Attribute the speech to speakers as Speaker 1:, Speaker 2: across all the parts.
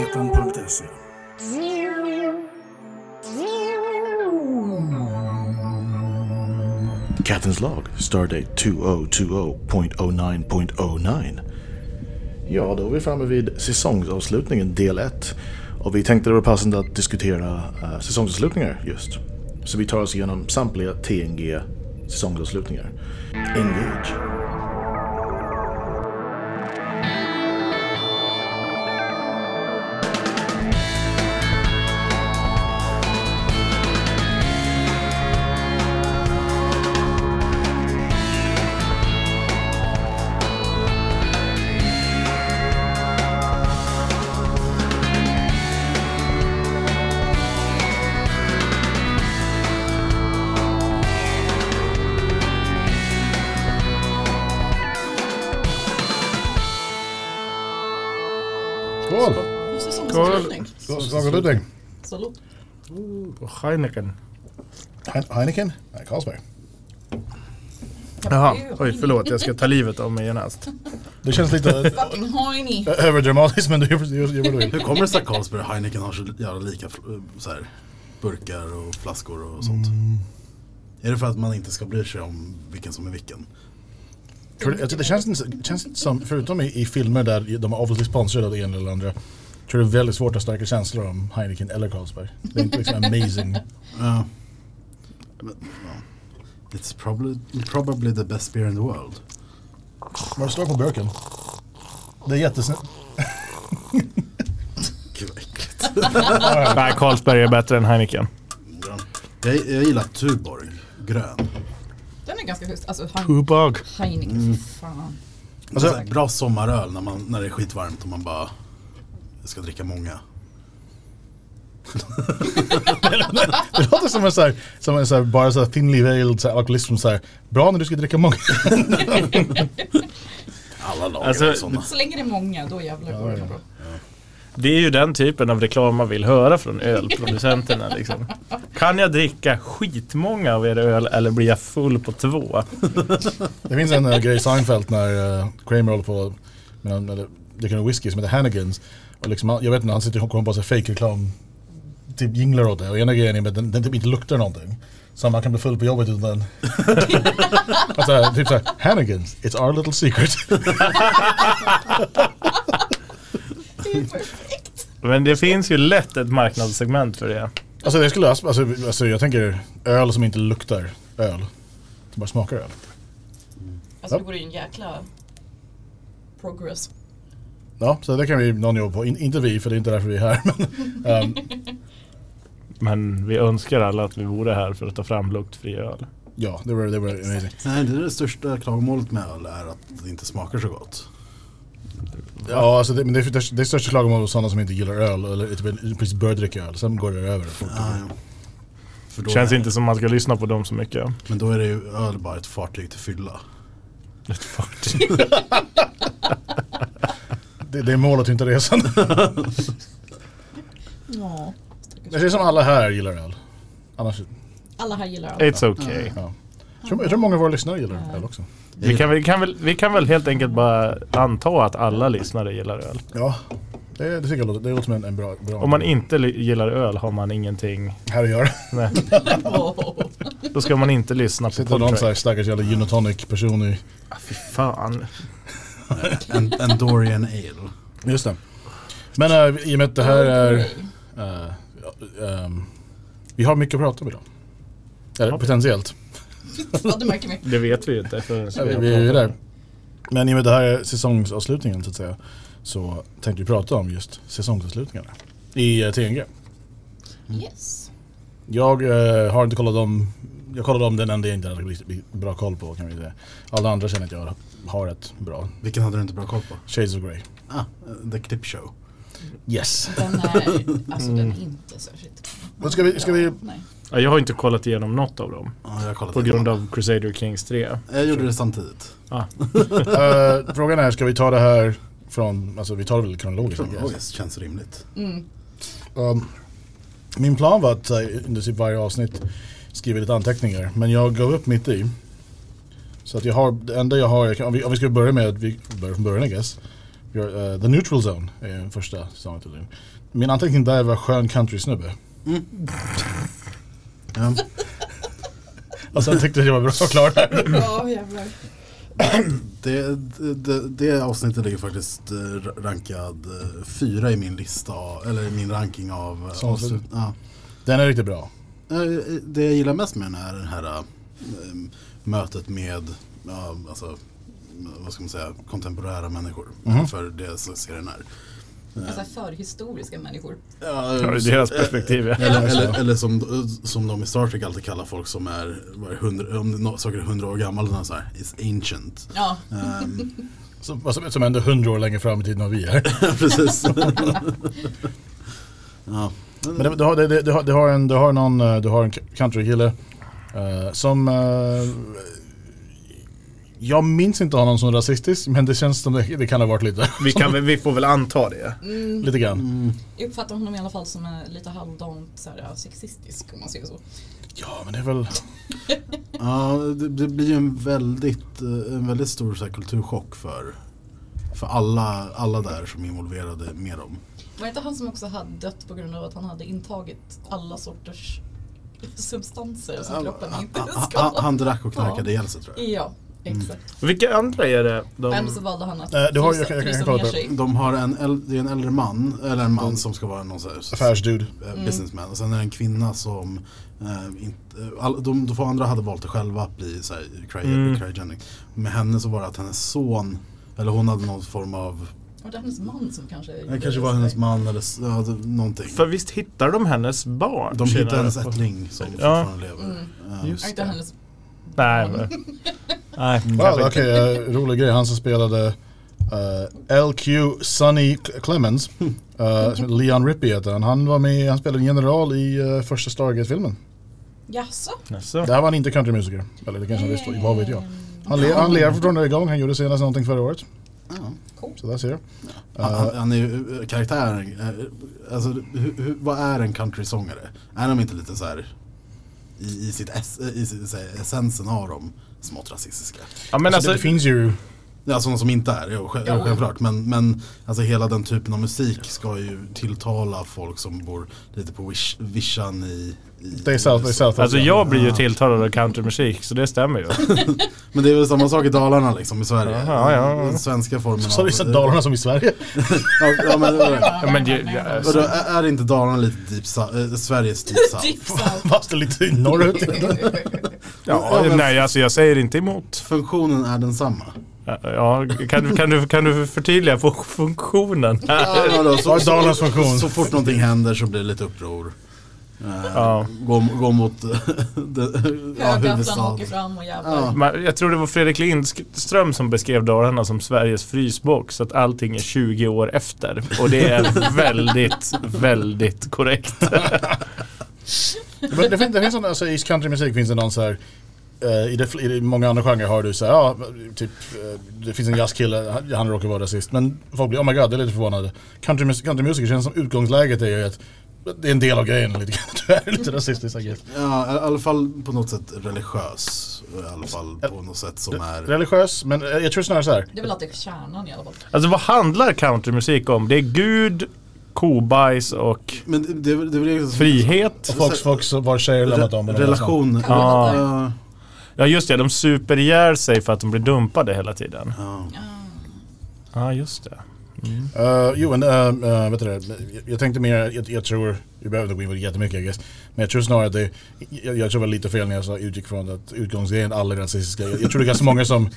Speaker 1: Planeten.se Captain's Log, Stardate 2020.09.09. Ja, då är vi framme vid säsongsavslutningen, del 1. Och vi tänkte det var passande att diskutera eh, säsongsavslutningar just. Så vi tar oss igenom samtliga TNG säsongsavslutningar. Engage.
Speaker 2: Skål!
Speaker 3: Skål!
Speaker 2: Skål, Skål för Ludvig.
Speaker 3: Salut.
Speaker 4: Och Heineken.
Speaker 2: Hein- Heineken? Nej, Carlsberg.
Speaker 4: Jaha, oj förlåt jag ska ta livet av mig genast.
Speaker 2: Det känns lite
Speaker 3: Fucking hojni.
Speaker 2: ö- överdramatiskt men du gjorde det.
Speaker 5: Hur kommer det sig att Carlsberg och Heineken har så jävla lika fl- eh, så här, burkar och flaskor och sånt?
Speaker 2: Mm.
Speaker 5: Är det för att man inte ska bry sig om vilken som är vilken?
Speaker 2: Tror du- Jag tycker det känns inte, känns inte som, förutom i, i filmer där de är obviously sponsrade av det ena eller andra, tror jag det är väldigt svårt att stärka känslor om Heineken eller Carlsberg. Det är inte liksom amazing.
Speaker 5: Ja. Men, ja. It's probably, probably the best beer in the world.
Speaker 2: Vad det står på burken? Det är jättesnyggt.
Speaker 5: Gud vad äckligt.
Speaker 4: Nej, Carlsberg är bättre än Heineken.
Speaker 5: Ja. Jag, jag gillar Tuborg, grön.
Speaker 3: Den är ganska schysst. Alltså
Speaker 2: Mm.
Speaker 3: Hein-
Speaker 4: Hubag.
Speaker 3: Heineken, fy fan.
Speaker 5: Alltså, så här, bra sommaröl när, man, när det är skitvarmt och man bara ska dricka många.
Speaker 2: Det låter som en sån här, som en så här bara så här thinly veiled så här alkoholist som så här, bra när du ska dricka många.
Speaker 5: Alla liksom. lager
Speaker 4: Alltså,
Speaker 5: är sådana.
Speaker 3: Så länge det är många, då jävlar går det bra.
Speaker 4: Det är ju den typen av reklam man vill höra från ölproducenterna. Liksom. Kan jag dricka skitmånga av er öl eller blir jag full på två?
Speaker 2: Det finns en eh, grej i Seinfeld när eh, Kramer håller på med en eller dricker en whisky som heter Hannigans. Och liksom, han- jag vet inte, han sitter och kommer på sig fake reklam typ jinglar åt det. Och ena grejen är att den, den typ inte luktar någonting. Så man kan bli full på jobbet utan den. alltså, typ såhär, Hannigans, it's our little secret.
Speaker 3: Det är perfekt.
Speaker 4: Men det finns ju lätt ett marknadssegment för det.
Speaker 2: alltså det skulle, alltså, alltså jag tänker öl som inte luktar öl. Som bara smakar öl.
Speaker 3: Alltså det vore ju en jäkla progress.
Speaker 2: Ja, så det kan vi någon jobba på. In, inte vi, för det är inte därför vi är här. Men, ehm,
Speaker 4: Men vi önskar alla att vi vore här för att ta fram luktfri öl.
Speaker 2: ja, det var, det var amazing.
Speaker 5: Nej, det är det största klagomålet med öl är att det inte smakar så gott.
Speaker 2: Ja, alltså det, men det, är- det, är- det är största klagomål hos sådana som inte gillar öl eller typ, precis börjar dricka öl. Sen går det över. fort.
Speaker 5: Ja, ja. För då
Speaker 4: Känns
Speaker 5: är,
Speaker 4: inte som man ska lyssna på dem så mycket.
Speaker 5: Men då är det ju öl bara ett fartyg till fylla.
Speaker 2: Det, det är målet, inte resan.
Speaker 3: Ja.
Speaker 2: Det känns som alla här gillar öl. Annars,
Speaker 3: Alla här gillar allt.
Speaker 4: It's okay.
Speaker 2: ja. Jag tror, jag tror många av våra lyssnare gillar öl också.
Speaker 4: Vi kan, väl- vi, kan väl, vi kan väl helt enkelt bara anta att alla lyssnare gillar öl.
Speaker 2: Ja, det, det tycker jag låter, det låter som en, en bra, bra
Speaker 4: Om man inte li- gillar öl har man ingenting.
Speaker 2: här att göra.
Speaker 4: Nej,
Speaker 3: Oh.
Speaker 4: då ska man inte lyssna på
Speaker 2: Sitter någon
Speaker 4: Podtrack.
Speaker 2: så här stackars jävla gin och tonic person i...
Speaker 4: Ah, Fy fan.
Speaker 5: En, en Dorian Ale.
Speaker 2: Just det. Men eh, i och med att det här är... eh, ja, ehm, vi har mycket att prata om idag. Eller potentiellt.
Speaker 3: Ja, det märker vi.
Speaker 4: Det vet vi ju inte förrän
Speaker 2: Ja, vi, vi är ju där. Men i och med det här är säsongsavslutningen så att säga så tänkte vi prata om just säsongsavslutningarna i eh, TNG.
Speaker 3: Yes.
Speaker 2: Jag eh, har inte kollat om, jag kollade om den enda jag inte hade riktigt bra koll på kan vi säga. Alla andra känner att jag har ett bra.
Speaker 5: Vilken hade du inte bra koll på?
Speaker 2: Shades of Grey.
Speaker 5: Ah, eh, The Clip Show.
Speaker 2: Yes.
Speaker 3: Den är, alltså den är inte särskilt
Speaker 2: Då Mm. ska vi, ska vi,
Speaker 3: Nej.
Speaker 4: Ja, jag har inte kollat igenom något av dem.
Speaker 5: Ja, jag kollade
Speaker 4: På grund av Crusader Kings Ah, 3.
Speaker 5: Jag gjorde det samtidigt.
Speaker 2: eh, frågan är, ska vi ta det här från, alltså vi tar det väl kronologiskt? I guess.
Speaker 5: Kronologiskt känns rimligt.
Speaker 2: Um, min plan var att så här, under typ varje avsnitt skriva lite anteckningar, men jag gav upp mitt i. Så att jag har, det enda jag har, jag kan, om, vi, om vi ska börja med, att vi börjar från början I guess. Your, eh, The Neutral Zone är den första säsongen tydligen. Min anteckning där var skön countrysnubbe.
Speaker 5: Ja.
Speaker 2: Och sen tyckte Alltså, jag det var bra och klar där.
Speaker 3: Ja, jävlar.
Speaker 5: Det, det, det, det avsnittet ligger faktiskt eh, ra- rankad eh, fyra i min lista, eller i min ranking av eh,
Speaker 2: Som
Speaker 5: avsnitt. Ja.
Speaker 2: Den är riktigt bra.
Speaker 5: Eh, Det jag gillar mest med den är det här eh, mötet med, ja, alltså, vad ska man säga, kontemporära människor. För det som serien är.
Speaker 3: Alltså förhistoriska människor.
Speaker 5: Ja,
Speaker 4: Ja,
Speaker 2: Mm.
Speaker 4: ur deras perspektiv ja.
Speaker 5: Eller, eller, eller som, som de i Star Trek alltid kallar folk som är, vad är hundra, om nå- saker är hundra år gamla, den här så här, it's ancient.
Speaker 3: Ja,
Speaker 5: Ehm,
Speaker 2: Som, vad som, som ändå hundra år längre fram i tiden än vad vi är.
Speaker 5: precis. ja.
Speaker 2: Men det, det, har, det, det, det har- det, har en, det har någon, eh, det har en countrykille eh, som... Eh, jag minns inte honom som rasistisk men det känns som det, det kan ha varit lite,
Speaker 4: Vi, kan, väl- vi får väl anta det.
Speaker 2: lite grann.
Speaker 3: jag uppfattar honom i alla fall som eh, lite halvdant så här, ja, sexistisk om man säger så.
Speaker 2: Ja men det är väl...
Speaker 5: Ja, det, det blir ju en väldigt, eh, en väldigt stor så här, kulturchock för, för alla, alla där som är involverade med dem.
Speaker 3: Var det inte han som också hade dött på grund av att han hade intagit alla sorters substanser som kroppen
Speaker 5: Han,
Speaker 3: inte
Speaker 5: han,
Speaker 3: ska?
Speaker 5: han, han drack och knarkade ihjäl sig tror jag.
Speaker 3: Ja, exakt.
Speaker 4: Vilka andra är det? De...
Speaker 3: Men så valde han att
Speaker 2: Eh, det har-
Speaker 3: frysa-
Speaker 2: jag kan- jag kan
Speaker 3: frysa
Speaker 2: kolla
Speaker 3: ner
Speaker 2: det.
Speaker 3: sig.
Speaker 5: De har en, äl- det är en äldre man, eller en
Speaker 4: Mm.
Speaker 5: man som ska vara någon så här,
Speaker 2: Affärsdude.
Speaker 5: eh, businessman. Och sen är det en kvinna som, eh, inte, eh, all, de, de två andra hade valt det själva att bli så här, cry,
Speaker 4: Mm.
Speaker 5: cryogenic. Med henne så var det att hennes son, eller hon hade någon form av,
Speaker 3: Var det hennes man som kanske...
Speaker 5: det kanske var hennes man eller s- ja, det- någonting.
Speaker 4: För visst hittar de hennes barn?
Speaker 5: De hittade
Speaker 4: senare
Speaker 5: hennes
Speaker 4: på-
Speaker 5: ättling som
Speaker 4: Ja.
Speaker 5: fortfarande lever. Eh,
Speaker 4: Just
Speaker 3: Ja, Inte
Speaker 4: det.
Speaker 3: hennes...
Speaker 4: Nej, men... Nej,
Speaker 2: Well,
Speaker 4: kanske
Speaker 2: Okej,
Speaker 4: inte.
Speaker 2: eh, rolig grej. Han som spelade eh, LQ Sonny Cl- Clemens, eh, som heter Leon Rippey heter han. Han var med, han spelade en general i eh, första Stargate-filmen.
Speaker 3: Jaså?
Speaker 4: Alltså.
Speaker 2: Där var han inte countrymusiker. Eller det kanske han visst var, vad vet jag. Han, le, han lever fortfarande igång, han gjorde senast någonting förra året.
Speaker 5: Ja.
Speaker 2: Så där ser du.
Speaker 5: Han, han, han är ju eh, karaktären, eh, alltså hur, hur, vad är en countrysångare? Är de inte lite så här i, i, sitt ess, eh, i sitt, så här, essensen av dem smått rasistiska?
Speaker 4: Ja, men
Speaker 2: Men alltså,
Speaker 4: alltså,
Speaker 2: det, det finns ju...
Speaker 5: Ja, Alltså de som inte är, jo, sj-
Speaker 3: Ja.
Speaker 5: självklart. Men, men alltså hela den typen av musik ska ju tilltala folk som bor lite på visch- vischan i... i
Speaker 2: Det är South, det är South
Speaker 4: alltså jag blir ju tilltalad av countrymusik, så det stämmer ju.
Speaker 5: Men det är väl samma sak i Dalarna liksom, i Sverige.
Speaker 4: Jaha, ja.
Speaker 5: Den svenska formen
Speaker 2: Så vissa Dalarna som i Sverige.
Speaker 5: Ja, ja, men,
Speaker 4: Ja, men det, ja,
Speaker 5: vadå,
Speaker 4: alltså,
Speaker 5: är är inte Dalarna lite deep south, eh, Sveriges deep south?
Speaker 3: Deep South.
Speaker 2: Fast det är lite norrut.
Speaker 4: ja, nej, alltså jag säger inte emot.
Speaker 5: Funktionen är densamma.
Speaker 4: Ja, kan, du- kan, du, kan du förtydliga på funktionen?
Speaker 5: Ja, men då,
Speaker 2: Vad
Speaker 5: så,
Speaker 2: är Dalarnas
Speaker 5: så,
Speaker 2: funktion?
Speaker 5: så fort någonting händer så blir det lite uppror. Eh,
Speaker 4: Ja.
Speaker 5: gå, gå mot de, ja,
Speaker 3: Högatan
Speaker 5: huvudstaden.
Speaker 3: åker fram och jävlar.
Speaker 5: Ja.
Speaker 4: Man, jag tror det var Fredrik Lindström som beskrev Dalarna som Sveriges frysbox, att allting är 20 år efter. Och det är väldigt, väldigt korrekt.
Speaker 2: Men det, finns, det finns sådana, alltså i countrymusik finns det någon så här eh, i, det, fl- I det- många andra genrer har du så här, ja, typ, eh, det finns en jazzkille, han, han råkar vara rasist, men folk blir, oh my god, det är lite förvånade. Countrymus- Countrymusiker känns som utgångsläget är ju att det är en del av grejen lite grann, du är lite rasistisk I guess.
Speaker 5: Ja, i alla fall på något sätt religiös. I alla fall på något sätt som är...
Speaker 2: Religiös, men eh, jag tror snarare så här.
Speaker 3: Det är väl alltid kärnan i alla fall.
Speaker 4: Alltså vad handlar countrymusik om? Det är Gud, kobajs och
Speaker 5: Men det, det, det blir liksom...
Speaker 4: frihet.
Speaker 2: Och folk, folk som var tjejer lämnat om.
Speaker 5: Re, relation.
Speaker 4: Ja.
Speaker 5: Ja.
Speaker 4: Ja just det, de super ihjäl sig för att de blir dumpade hela tiden.
Speaker 5: Ja.
Speaker 4: Ja just det.
Speaker 2: Uh, jo, men eh, eh, vet du det, jag, jag tänkte mer, jag, jag tror, vi behöver inte gå in på det jättemycket I guess, men jag tror snarare att det, jag, jag tror det var lite fel när jag sa utgick från att utgångsgrejen alla är rasistiska. Jag, jag tror det är ganska många som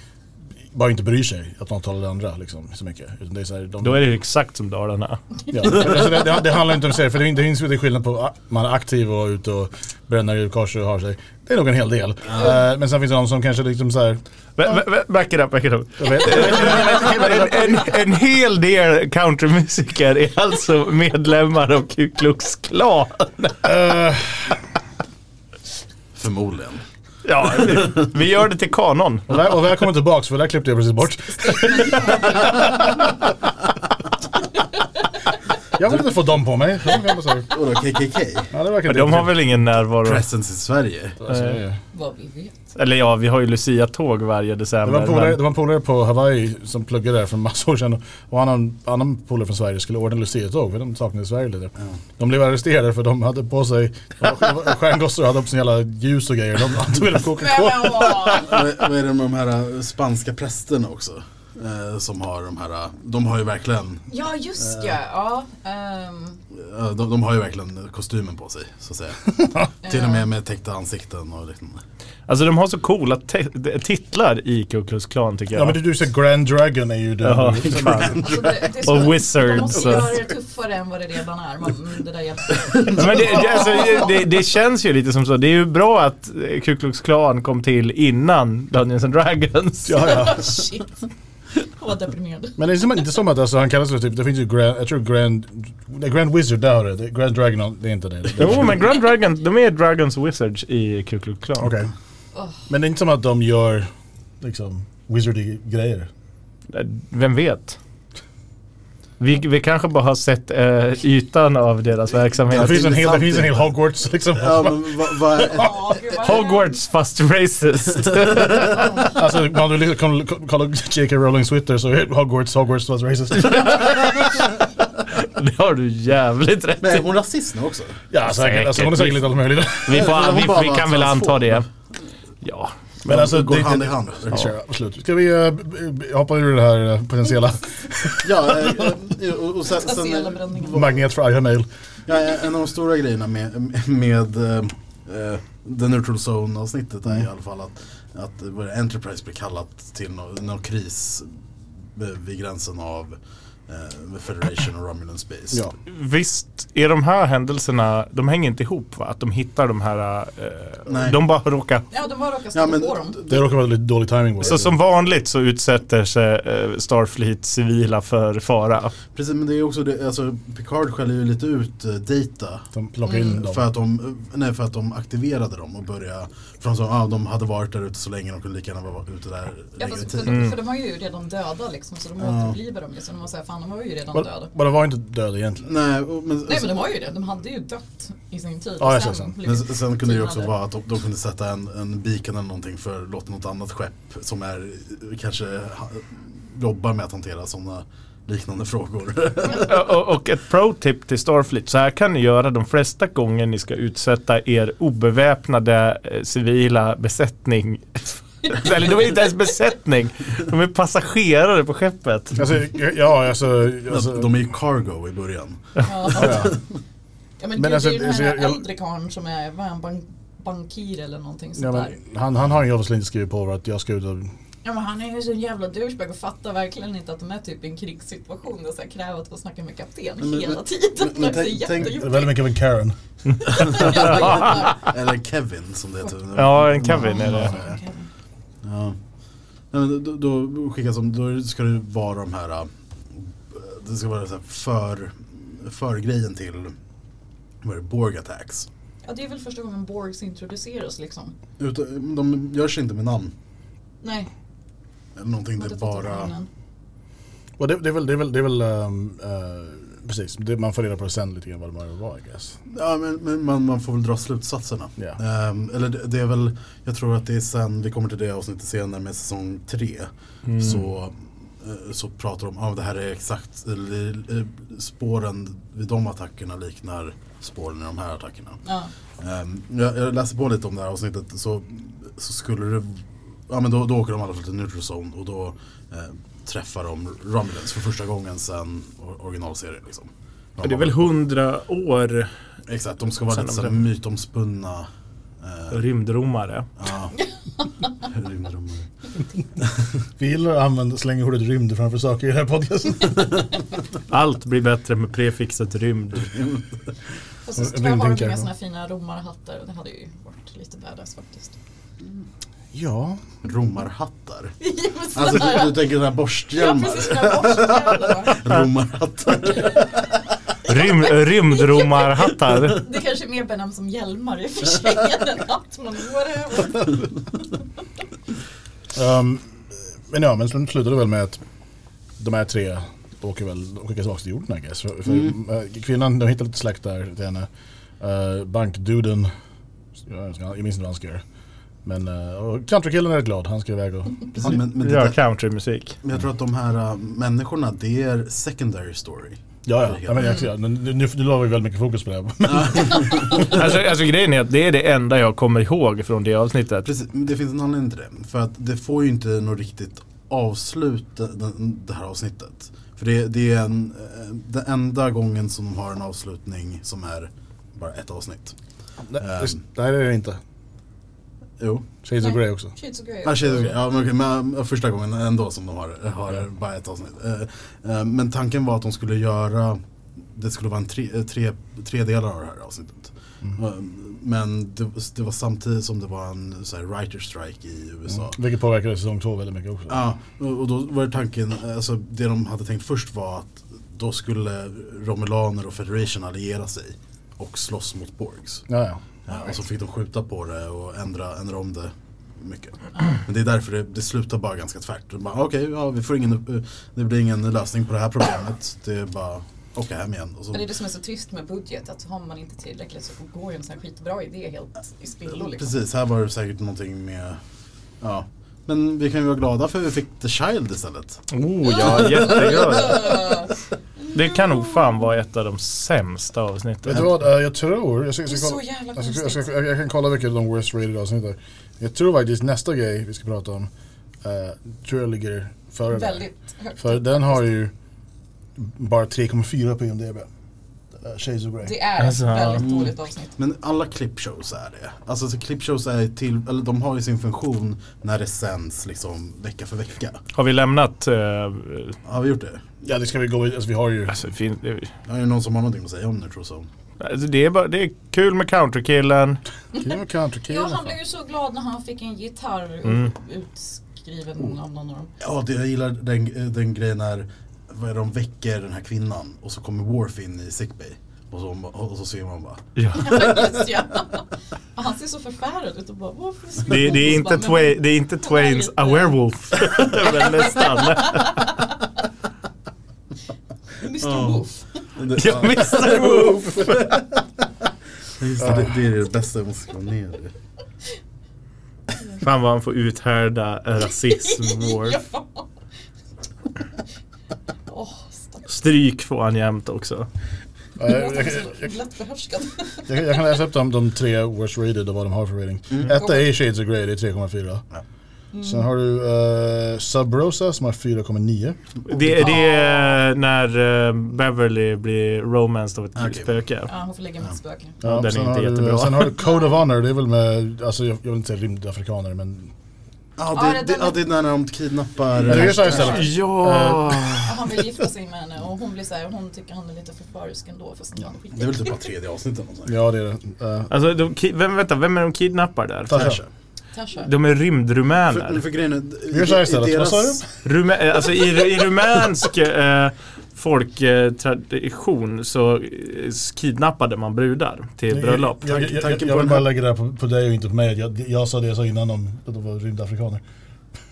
Speaker 2: bara inte bryr sig att de talar det andra liksom, så mycket. Utan det, är så här, de,
Speaker 4: Då är det ju exakt som Dalarna.
Speaker 2: ja, alltså, det, det, det handlar inte om sig, för det, det finns ju det skillnad på att man är aktiv och ute och bränner ur kors och har sig. Det är nog en hel del. Eh, men sen finns det de som kanske liksom så här,
Speaker 4: Ba- ba- ba- Back it up, back it up.
Speaker 2: jag vet,
Speaker 4: En, en, en hel del countrymusiker är alltså medlemmar av Ku Klux Klan.
Speaker 5: Förmodligen.
Speaker 4: Ja, vi- vi gör det till kanon.
Speaker 2: och, väl, och välkommen tillbaks för det där klippte jag precis bort. Jag vill inte få dem på mig. De kan bara säga,
Speaker 5: Vadå KKK?
Speaker 2: Ja, det verkar
Speaker 4: Men de
Speaker 2: inte
Speaker 4: har väl ingen närvaro?
Speaker 5: Presence i Sverige?
Speaker 2: Alltså, det är-
Speaker 3: Vad vi vet.
Speaker 4: Eller ja, vi har ju Lucia-tåg varje
Speaker 2: Det var, en
Speaker 4: december.
Speaker 2: polare,
Speaker 4: men-
Speaker 2: det var en polare på Hawaii som pluggade där för massa år sedan och han och en annan polare från Sverige skulle ordna luciatåg för de saknade Sverige lite. De blev arresterade för de hade på sig, de var stjärngossar och hade på sig jävla ljus och grejer. De antog väl Coca-Cola.
Speaker 3: Men åh!
Speaker 5: Vad vad är det med de här eh, spanska prästerna också? Eh, som har de här, eh, de har ju verkligen
Speaker 3: Ja, just ja. ja ehm,
Speaker 5: eh, de, de har ju verkligen kostymen på sig så att säga. Till och med med täckta ansikten och liknande.
Speaker 4: Alltså de har så coola te- titlar i Ku Klux Klan tycker jag.
Speaker 2: Ja men du, du säger Grand Dragon är ju den.
Speaker 4: Jaha,
Speaker 3: alltså det, det är
Speaker 4: Och
Speaker 3: så- Man
Speaker 4: Wizards.
Speaker 3: måste göra det tuffare än vad det redan är. Man, mm, det där hjälper.
Speaker 4: Ja, Men det, det, alltså, det, det känns ju lite som så. Det är ju bra att eh, Ku Klux Klan kom till innan Dungeons and Dragons.
Speaker 2: Ja, ja.
Speaker 3: Shit. Vad deprimerande.
Speaker 2: Men det är som, inte som att alltså, han kallas för typ, det finns ju Grand, jag tror Grand, nej, Grand Wizard, där har du det. Grand Dragon, det är inte det. det
Speaker 4: Jo men Grand Dragon, de är Dragons Wizards i Ku Klux Klan.
Speaker 2: Okej. Men det är inte som att de gör liksom wizardy grejer.
Speaker 4: Eh, Vem vet? Vi, vi kanske bara har sett eh, ytan av deras
Speaker 2: Det
Speaker 4: verksamhet.
Speaker 2: finns en hel, det
Speaker 5: intressant
Speaker 2: finns en hel
Speaker 5: ju.
Speaker 2: Hogwarts liksom.
Speaker 5: Ja men vad, vad är,
Speaker 3: Ja, gud, vad
Speaker 4: Hogwarts fast racist.
Speaker 2: Alltså om du liksom kollar- koll- kollar J.K. Rowlings Twitter så är Hogwarts, Hogwarts was racist.
Speaker 4: det har du jävligt rätt
Speaker 5: men är
Speaker 4: i.
Speaker 5: hon rasist nu också?
Speaker 2: ja säkert. Alltså, hon är säkert lite allt möjligt.
Speaker 4: Vi, får,
Speaker 5: Hon
Speaker 4: vi,
Speaker 5: bara
Speaker 4: vi
Speaker 5: var
Speaker 4: kan väl anta
Speaker 5: transfob.
Speaker 4: det. Ja.
Speaker 2: Men alltså,
Speaker 5: Går
Speaker 2: det,
Speaker 5: hand i
Speaker 2: det,
Speaker 5: hand.
Speaker 2: Sure, absolut. Ska vi eh, b- b- hoppa ur det här eh, potentiella
Speaker 5: Ja, eh, eh, och, och sen,
Speaker 3: Potentiella
Speaker 5: sen,
Speaker 3: bränningar.
Speaker 2: magnet för Iha Mail?
Speaker 5: ja, eh, en av de stora grejerna med, med eh, eh, The Neutral Zone avsnittet är i alla fall att, att eh, vad är det, Enterprise blir kallat till någon nå kris eh, vid gränsen av eh, Federation och Romulan Space.
Speaker 2: Ja.
Speaker 4: Visst är de här händelserna, de hänger inte ihop va? Att de hittar de här, eh,
Speaker 5: Nej.
Speaker 4: de bara råkar
Speaker 3: Ja, de bara råkar stå
Speaker 5: Ja, men,
Speaker 3: på dem.
Speaker 2: Det råkar vara lite dålig timing bara.
Speaker 4: Så som vanligt så utsätter sig eh, Starfleet civila för fara.
Speaker 5: precis, men det är också det, alltså Picard skäller ju lite ut eh, Data
Speaker 2: De plockar
Speaker 3: Mm.
Speaker 2: in dem.
Speaker 5: För att, de, eh, nej, för att de aktiverade dem och började, för de sa ah, de hade varit där ute så länge, de kunde lika gärna vara ute där
Speaker 3: Ja,
Speaker 5: längre
Speaker 3: fast,
Speaker 5: tid.
Speaker 2: Mm.
Speaker 3: för, för de har ju redan döda liksom, så de återbliver dem ju. Så de var såhär, fan de var ju redan döda.
Speaker 2: Bara- Bara var inte död egentligen.
Speaker 5: Nej, och, men,
Speaker 3: Nej men de var ju det, de hade ju dött i sin tid.
Speaker 2: Ja, jag
Speaker 3: Sen
Speaker 2: ser sen.
Speaker 3: blev
Speaker 5: Men
Speaker 3: det
Speaker 5: s- sen kunde det ju också
Speaker 3: tystnader.
Speaker 5: vara att de, de kunde sätta en, en beacon eller någonting för låta något annat skepp som är eh, kanske ha, jobbar med att hantera sådana liknande frågor.
Speaker 4: Och, och ett pro-tip till Starfleet, så här kan ni göra de flesta gånger ni ska utsätta er obeväpnade eh, civila besättning. Eller de är inte ens besättning, de är passagerare på skeppet.
Speaker 2: Alltså, ja, alltså... alltså
Speaker 5: de är ju cargo i början.
Speaker 2: ja.
Speaker 3: Ja men,
Speaker 2: Men
Speaker 3: det,
Speaker 2: alltså,
Speaker 3: det är ju den
Speaker 2: så
Speaker 3: här
Speaker 2: jag- jag-
Speaker 3: äldre karln som är, vad är han, bank, bankir eller någonting sånt
Speaker 2: Ja,
Speaker 3: där.
Speaker 2: men, han, han har ju obviously inte skrivit på att jag ska ut och...
Speaker 3: Ja men han är ju så en jävla douchebag och fattar verkligen inte att de är typ i en krigssituation och så här kräver att få snacka med kapten
Speaker 5: men-
Speaker 3: hela
Speaker 5: men-
Speaker 3: tiden.
Speaker 5: men- men
Speaker 3: det är
Speaker 5: tänk- tänk-
Speaker 2: Det är
Speaker 3: jättejobbigt.
Speaker 2: väldigt mycket av en Karen.
Speaker 5: Eller Kevin som det heter. nu.
Speaker 4: Ja, en Kevin är det.
Speaker 5: Ja. Nej, men då, då skickas de, då ska det vara de här, äh, det ska vara så här för, för grejen till, vad är det, Borg attacks.
Speaker 3: Ja det är väl första gången Borgs introduceras liksom.
Speaker 5: Utan, de görs inte med namn.
Speaker 3: Nej.
Speaker 5: Eller någonting, det
Speaker 3: hade
Speaker 5: är
Speaker 3: fått
Speaker 5: bara...
Speaker 3: namnen.
Speaker 2: Och det, det är väl, det är väl, det är väl ehm, eh, precis, det, man får reda på det sen lite grann vad det var I guess.
Speaker 5: Ja, men, men man, man får väl dra slutsatserna.
Speaker 2: Ja.
Speaker 5: Ehm, eller det, det är väl, jag tror att det är sen, vi kommer till det avsnittet senare med säsong tre. Så, eh, så pratar de om, ah, det här är exakt, eller, eh, spåren vid de attackerna liknar spåren i de här attackerna.
Speaker 3: Ja.
Speaker 5: Ehm, jag, jag läste på lite om det här avsnittet så, så skulle det, ja men då, då åker de alla till Neutral Zone och då eh, träffar de Romulans för första gången sen or- originalserien liksom. De har-
Speaker 4: hundra år
Speaker 5: Exakt, de ska vara
Speaker 4: Sen
Speaker 5: lite
Speaker 4: de
Speaker 5: såhär
Speaker 4: träffar-
Speaker 5: mytomspunna
Speaker 4: rymdromare.
Speaker 5: ja, rymdromare.
Speaker 2: Vi gillar att använda, slänga ordet rymd framför saker i den här podcasten.
Speaker 4: Allt blir bättre med prefixet rymd.
Speaker 3: Och så
Speaker 2: Och
Speaker 3: skulle jag ha
Speaker 2: rymdhinkar.
Speaker 3: med såna här fina romarhattar och det hade ju varit lite badass faktiskt.
Speaker 2: ja.
Speaker 5: Romarhattar.
Speaker 3: Ja, men sådär.
Speaker 5: Alltså du, du tänker sådana här
Speaker 3: Ja
Speaker 5: borsthjälmar.
Speaker 3: precis, mina borstjävlar.
Speaker 5: Romarhattar.
Speaker 4: Rym, rymdromarhattar.
Speaker 3: Det kanske är mer benämns som hjälmar i och för sig än en hatt man går över.
Speaker 2: Ehm, men ja, men sen slutar det väl med att de här tre åker väl och skickas tillbaka till jorden I guess. För, för, eh, kvinnan, de hittar lite släkt där till henne. Eh, bankduden, jag jag minns inte vad han ska göra. Men eh, och countrykillen är glad, han ska iväg och...
Speaker 5: Precis, men, men, det,
Speaker 4: Gör
Speaker 5: där-
Speaker 4: countrymusik.
Speaker 5: men jag tror att de här äh, människorna, det är secondary story.
Speaker 2: Ja, ja. ja men, jag, ja, nu, nu, nu la vi väldigt mycket fokus på det. här.
Speaker 4: Alltså, alltså grejen är att det är det enda jag kommer ihåg från det avsnittet.
Speaker 5: Precis, men det finns en anledning till det. För att det får ju inte något riktigt avslut den- det här avsnittet. För det, det är en, eh, den enda gången som de har en avslutning som är bara ett avsnitt.
Speaker 2: Nej,
Speaker 5: Ehm.
Speaker 2: nej, det är det inte.
Speaker 5: Jo,
Speaker 2: Shades of Grey också.
Speaker 3: Shades of Grey.
Speaker 5: ah, shit, okay. ja, men, okej, men eh, första gången ändå som de har, har bara ett avsnitt. Eh, eh, Men tanken var att de skulle göra, det skulle vara en tre, eh, tre, tre delar av det här avsnittet. Eh, Men det, det var samtidigt som det var en så här, writer strike i USA.
Speaker 2: Vilket påverkade säsong två väldigt mycket också.
Speaker 5: Ja, och och då var det tanken, alltså det de hade tänkt först var att då skulle Romulaner och Federation alliera sig och slåss mot Borgs.
Speaker 2: Ja, ja.
Speaker 5: Ja, och så fick de skjuta på det och ändra, ändra om det mycket. Men det är därför det, det slutar bara ganska tvärt. De bara, Okej, ja, vi får ingen, det blir ingen lösning på det här problemet. Det är bara åka hem igen. Och så,
Speaker 3: Men det är det som är så trist med budget, att har man inte tillräckligt så går ju en sån här skitbra idé helt i spillo liksom.
Speaker 5: precis, här var det säkert någonting med, ja. Men vi kan ju vara glada för att vi fick The Child istället.
Speaker 4: Oh, jag är jätteglad. Det kan nog fan vara ett av de sämsta avsnitten.
Speaker 2: Vet du vad, eh, jag tror... Jag, ska, jag,
Speaker 3: Det är
Speaker 2: ska kolla,
Speaker 3: så jävla
Speaker 2: jag, ska, jag, ska,
Speaker 3: konstigt.
Speaker 2: jag, jag kan kolla vilka de worst rated avsnitten är. Jag tror faktiskt nästa grej vi ska prata om, eh, tror jag ligger före där.
Speaker 3: Väldigt högt.
Speaker 2: För den har ju bara 3,4 på IMDB. Eh, Shades of Grey.
Speaker 3: Det är ett
Speaker 4: Alltså,
Speaker 3: väldigt dåligt avsnitt.
Speaker 5: Men alla clipshows är det. Alltså så clipshows är till, eller de har ju sin funktion när det sänds liksom vecka för vecka.
Speaker 4: Har vi lämnat... eh,
Speaker 5: Har vi gjort det?
Speaker 2: Ja, det ska vi gå vidare. Alltså, vi har ju...
Speaker 4: alltså, fin, det,
Speaker 5: Är det någon som har någonting att säga om Neutral Zone?
Speaker 4: alltså, det, är bara, det är kul med countrykillen.
Speaker 2: King of Country, King
Speaker 3: Ja,
Speaker 2: of
Speaker 3: han
Speaker 2: Country.
Speaker 3: blev ju så glad när han fick en gitarr
Speaker 4: Mm.
Speaker 3: utskriven
Speaker 4: Oh.
Speaker 3: av någon av dem.
Speaker 5: Ja, det, jag gillar den, eh, den grejen när vad är det, de väcker den här kvinnan och så kommer Worf in i sickbay. Och så, och så ser man bara.
Speaker 3: Faktiskt, ja. Och Han ser så förfärad ut och bara varför ska
Speaker 4: Det, det, är,
Speaker 3: hon
Speaker 4: inte
Speaker 3: bara, men-
Speaker 4: twa- det är inte Twains A Werewolf. Men nästan.
Speaker 3: Mr Wolf.
Speaker 5: Det,
Speaker 4: Ja,
Speaker 5: ja,
Speaker 4: Mr Wolf.
Speaker 5: just det, det, det är det bästa jag måste skriva ner. det.
Speaker 4: Fan vad han får uthärda rasism. Worf.
Speaker 3: Ja. Åh, stackars.
Speaker 4: Stryk får han jämt också.
Speaker 2: Eh,
Speaker 3: Han
Speaker 2: jag- jag-
Speaker 3: är så lätt behärskad.
Speaker 2: Jag, jag kan läsa upp de, de tre worst rated och vad de har för rating. Etta är Shades of Grey, det är 3,4. Sen har du eh, Sub Rosa som har 4,9.
Speaker 4: Det, det är när eh, Beverly blir romanced av ett
Speaker 5: Okej.
Speaker 4: spöke.
Speaker 3: Ja, hon får lägga mitt spöke.
Speaker 4: Ja, den är
Speaker 2: sen
Speaker 4: inte
Speaker 2: har du,
Speaker 4: jättebra.
Speaker 2: Sen har du Code of Honor, det är väl med, alltså jag, jag vill inte säga rymdafrikaner men...
Speaker 4: Mm.
Speaker 5: Ja, det,
Speaker 3: det-
Speaker 5: det, ja, det är när de kidnappar.
Speaker 2: Eller vi gör så här istället.
Speaker 4: Ja!
Speaker 3: Och han vill gifta sig med henne och hon blir så här, hon tycker han är lite förförisk ändå fast han är
Speaker 5: Det är väl
Speaker 3: skit.
Speaker 5: typ bara tredje avsnittet. eller något sånt.
Speaker 2: Ja det är det. Eh,
Speaker 4: Alltså, de, ki- vem, vänta, vem är de kidnappar där?
Speaker 2: Tasha.
Speaker 3: Tasha.
Speaker 4: De är
Speaker 5: För,
Speaker 4: rymdrumäner.
Speaker 5: för grejen är,
Speaker 2: Vi gör så här istället. Vad sa du?
Speaker 4: Rumä, alltså i, i rumänsk eh, folktradition så eh, kidnappade man brudar till bröllop.
Speaker 2: Jag, jag, jag, jag,
Speaker 5: Tanken
Speaker 2: jag vill
Speaker 5: på den
Speaker 2: bara
Speaker 5: här-
Speaker 2: lägga det här på, på dig och inte på mig. Jag, jag sa det jag sa innan om att de var rymdafrikaner.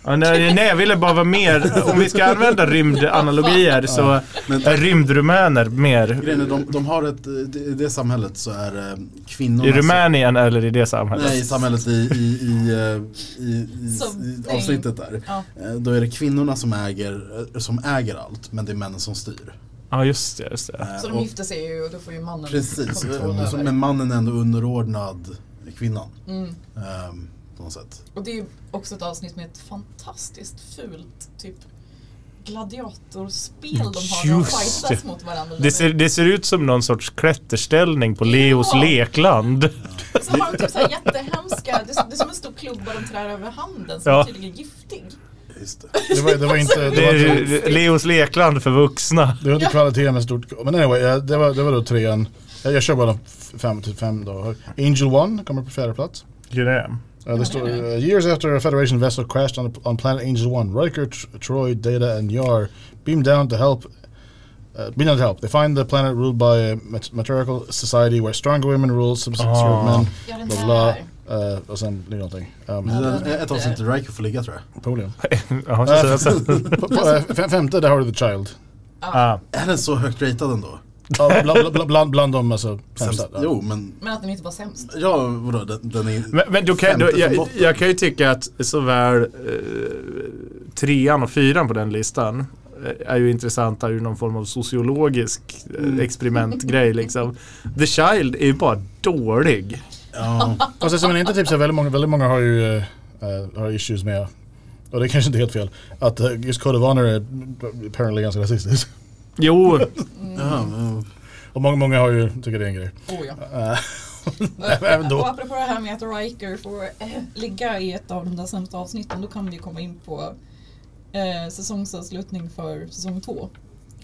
Speaker 4: Ja, nej, nej, jag ville bara vara mer, om vi ska använda rymdanalogier så
Speaker 5: Men-
Speaker 4: är rymdrumäner mer.
Speaker 5: Grejen är, de, de har ett, i det samhället så är det kvinnorna
Speaker 4: I
Speaker 5: som-
Speaker 4: Rumänien eller i det samhället?
Speaker 5: Alltså. Nej, i samhället i, i, i, eh, i, i,
Speaker 3: Something.
Speaker 5: i avsnittet där.
Speaker 3: Ja.
Speaker 5: Eh, Då är det kvinnorna som äger, eh, som äger allt, men det är männen som styr.
Speaker 4: Ja, just det. Just det.
Speaker 5: Eh,
Speaker 3: Så de
Speaker 5: och,
Speaker 3: gifter sig ju och då får ju mannen
Speaker 5: precis,
Speaker 3: kontroll
Speaker 5: och så,
Speaker 3: över.
Speaker 5: men mannen är ändå underordnad kvinnan.
Speaker 3: Mm.
Speaker 5: ehm, På något sätt.
Speaker 3: Och det är ju också ett avsnitt med ett fantastiskt fult typ gladiatorspel de har när de
Speaker 4: Just
Speaker 3: fightas
Speaker 4: det.
Speaker 3: mot varandra.
Speaker 4: Det ser, det ser ut som någon sorts klätterställning på Leos
Speaker 3: Ja.
Speaker 4: lekland.
Speaker 3: Så har de typ så här jättehemska, det är, som- det är som en stor klubba de trär över handen som
Speaker 4: Ja.
Speaker 3: är tydligen giftig.
Speaker 5: Just det.
Speaker 2: Det var, det var inte...
Speaker 4: Det
Speaker 2: Det var inte
Speaker 4: är Leos lekland för vuxna.
Speaker 2: Det var inte kvalitet men stort. Men anyway, eh, det var, det var då trean. Jag, jag kör bara de f- fem till fem då. Angel One kommer på fjärde plats.
Speaker 4: Grym.
Speaker 2: Eh, det står eh, “Years after a Federation vessel crashed on, on planet Angel One, Riker, Tr- Troy, Data and Yar beam down to help Uh, beam down to help. They find the planet ruled by a mat- matriarchal society where stronger women rule subservient
Speaker 4: Ah.
Speaker 2: men
Speaker 3: Ja, den
Speaker 2: bla bla.
Speaker 3: här.
Speaker 2: Eh, och sen blir det någonting. Um,
Speaker 5: Men det är Ett avsnitt där Riker får ligga tror jag.
Speaker 2: Problem.
Speaker 4: Ja, så- så-
Speaker 2: uh, På- på- eh, fem- Femte, där har du The Child. Oh,
Speaker 4: Ah.
Speaker 5: Är den så högt ratad ändå?
Speaker 2: Ja, bland, bland, bland, bland de alltså,
Speaker 5: Sämst,
Speaker 2: sämsta. Ja.
Speaker 5: Jo, men
Speaker 3: Men att den inte var sämst.
Speaker 5: ja, vadå, den, den är
Speaker 4: Men, men du kan,
Speaker 5: femte
Speaker 4: du,
Speaker 5: från
Speaker 4: jag,
Speaker 5: botten.
Speaker 4: jag kan ju tycka att såväl eh, trean och fyran på den listan eh, är ju intressanta ur någon form av sociologisk eh,
Speaker 5: Mm.
Speaker 4: experimentgrej liksom. The Child är ju bara dålig.
Speaker 5: ja,
Speaker 2: Fast eftersom det inte typ så här, väldigt många, väldigt många har ju eh, eh, har issues med, och det är kanske inte helt fel, att eh, just Code of Honor är apparently ganska rasistiskt.
Speaker 4: Jo,
Speaker 5: ja,
Speaker 3: Mm.
Speaker 5: men-
Speaker 2: Och många, många har ju, tycker det är en grej.
Speaker 3: Oh, ja.
Speaker 2: Eh, Även då.
Speaker 3: Och apropå det här med att Riker får eh, ligga i ett av de där sämsta avsnitten, då kan vi komma in på eh, säsongsavslutning för säsong två.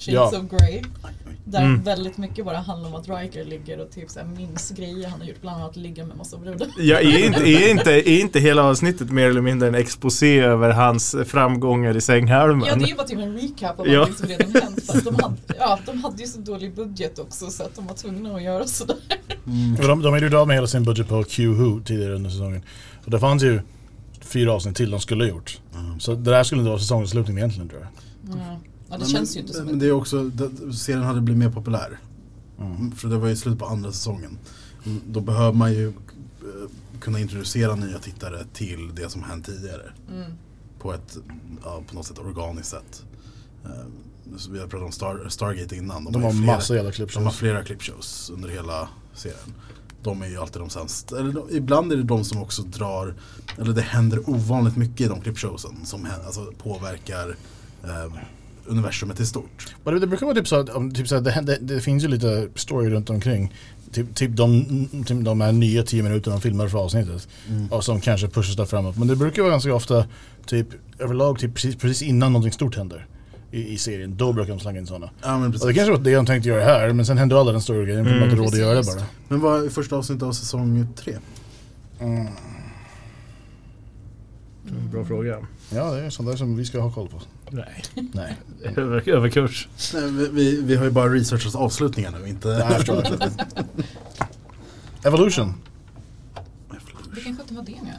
Speaker 3: Shades
Speaker 2: Ja.
Speaker 3: of Grey.
Speaker 5: aj, aj.
Speaker 3: Där
Speaker 4: Mm.
Speaker 3: väldigt mycket bara handlar om att Riker ligger och typ så här minns grejer han har gjort, bland annat att ligga med massa brudar.
Speaker 4: jag är inte, är, inte, är inte hela avsnittet mer eller mindre en exposé över hans framgångar i
Speaker 3: Ja, det
Speaker 4: sänghalmen?
Speaker 3: är ju bara typ en recap av
Speaker 4: Ja.
Speaker 3: allting som redan hänt. För att de, hade, ja, de hade ju så dålig budget också så att de var tvungna att göra sådär.
Speaker 2: Och De, de hade ju av med hela sin budget på Q Who tidigare under säsongen. Och det fanns ju fyra avsnitt till de skulle ha gjort. Så det där skulle inte vara säsongsavslutningen egentligen tror jag.
Speaker 3: Mm. Ja, det
Speaker 5: Men-
Speaker 3: känns ju inte som
Speaker 5: Men
Speaker 3: ett...
Speaker 5: det är också, det, serien hade blivit mer populär. Mm, För det var ju slut på andra säsongen. Mm, Då behöver man ju eh, kunna introducera nya tittare till det som hänt tidigare.
Speaker 3: Mm.
Speaker 5: På ett, ja, på något sätt organiskt sätt. Eh, Så vi har pratat om Star, Stargate innan.
Speaker 2: De
Speaker 5: har
Speaker 2: har
Speaker 5: ju flera-
Speaker 2: massa jävla
Speaker 5: De har
Speaker 2: klippshows.
Speaker 5: flera clipshows under hela serien. De är ju alltid de sämsta. Eller de, ibland är det de som också drar, eller det händer ovanligt mycket i de clipshowsen som hä- alltså, påverkar eh, universumet i stort.
Speaker 2: Men det, det brukar vara typ så att, om- typ så att det, händer- det finns ju lite story runt omkring. Typ, typ, de, typ de här nya tio minuterna de filmar för avsnittet. Och som kanske pushas där framåt. Men det brukar vara ganska ofta, typ överlag, typ precis, precis innan någonting stort händer. I, I serien, då brukar de slänga in sådana.
Speaker 5: Ja, men, precis.
Speaker 2: Och det kanske var det de tänkte göra här, men sen hände alla den stora grejen för de hade råd att göra det
Speaker 3: Precis.
Speaker 2: bara.
Speaker 5: men vad är första avsnittet av säsong tre?
Speaker 4: Bra fråga.
Speaker 2: Ja, det är sånt där som vi ska ha koll på.
Speaker 4: Nej,
Speaker 2: Nej,
Speaker 4: Över, överkurs.
Speaker 5: Nej, vi, vi, vi har ju bara researchat avslutningar nu,
Speaker 2: jag
Speaker 5: inte...
Speaker 2: förstår. Evolution.
Speaker 3: Vilken sjutton var det nu?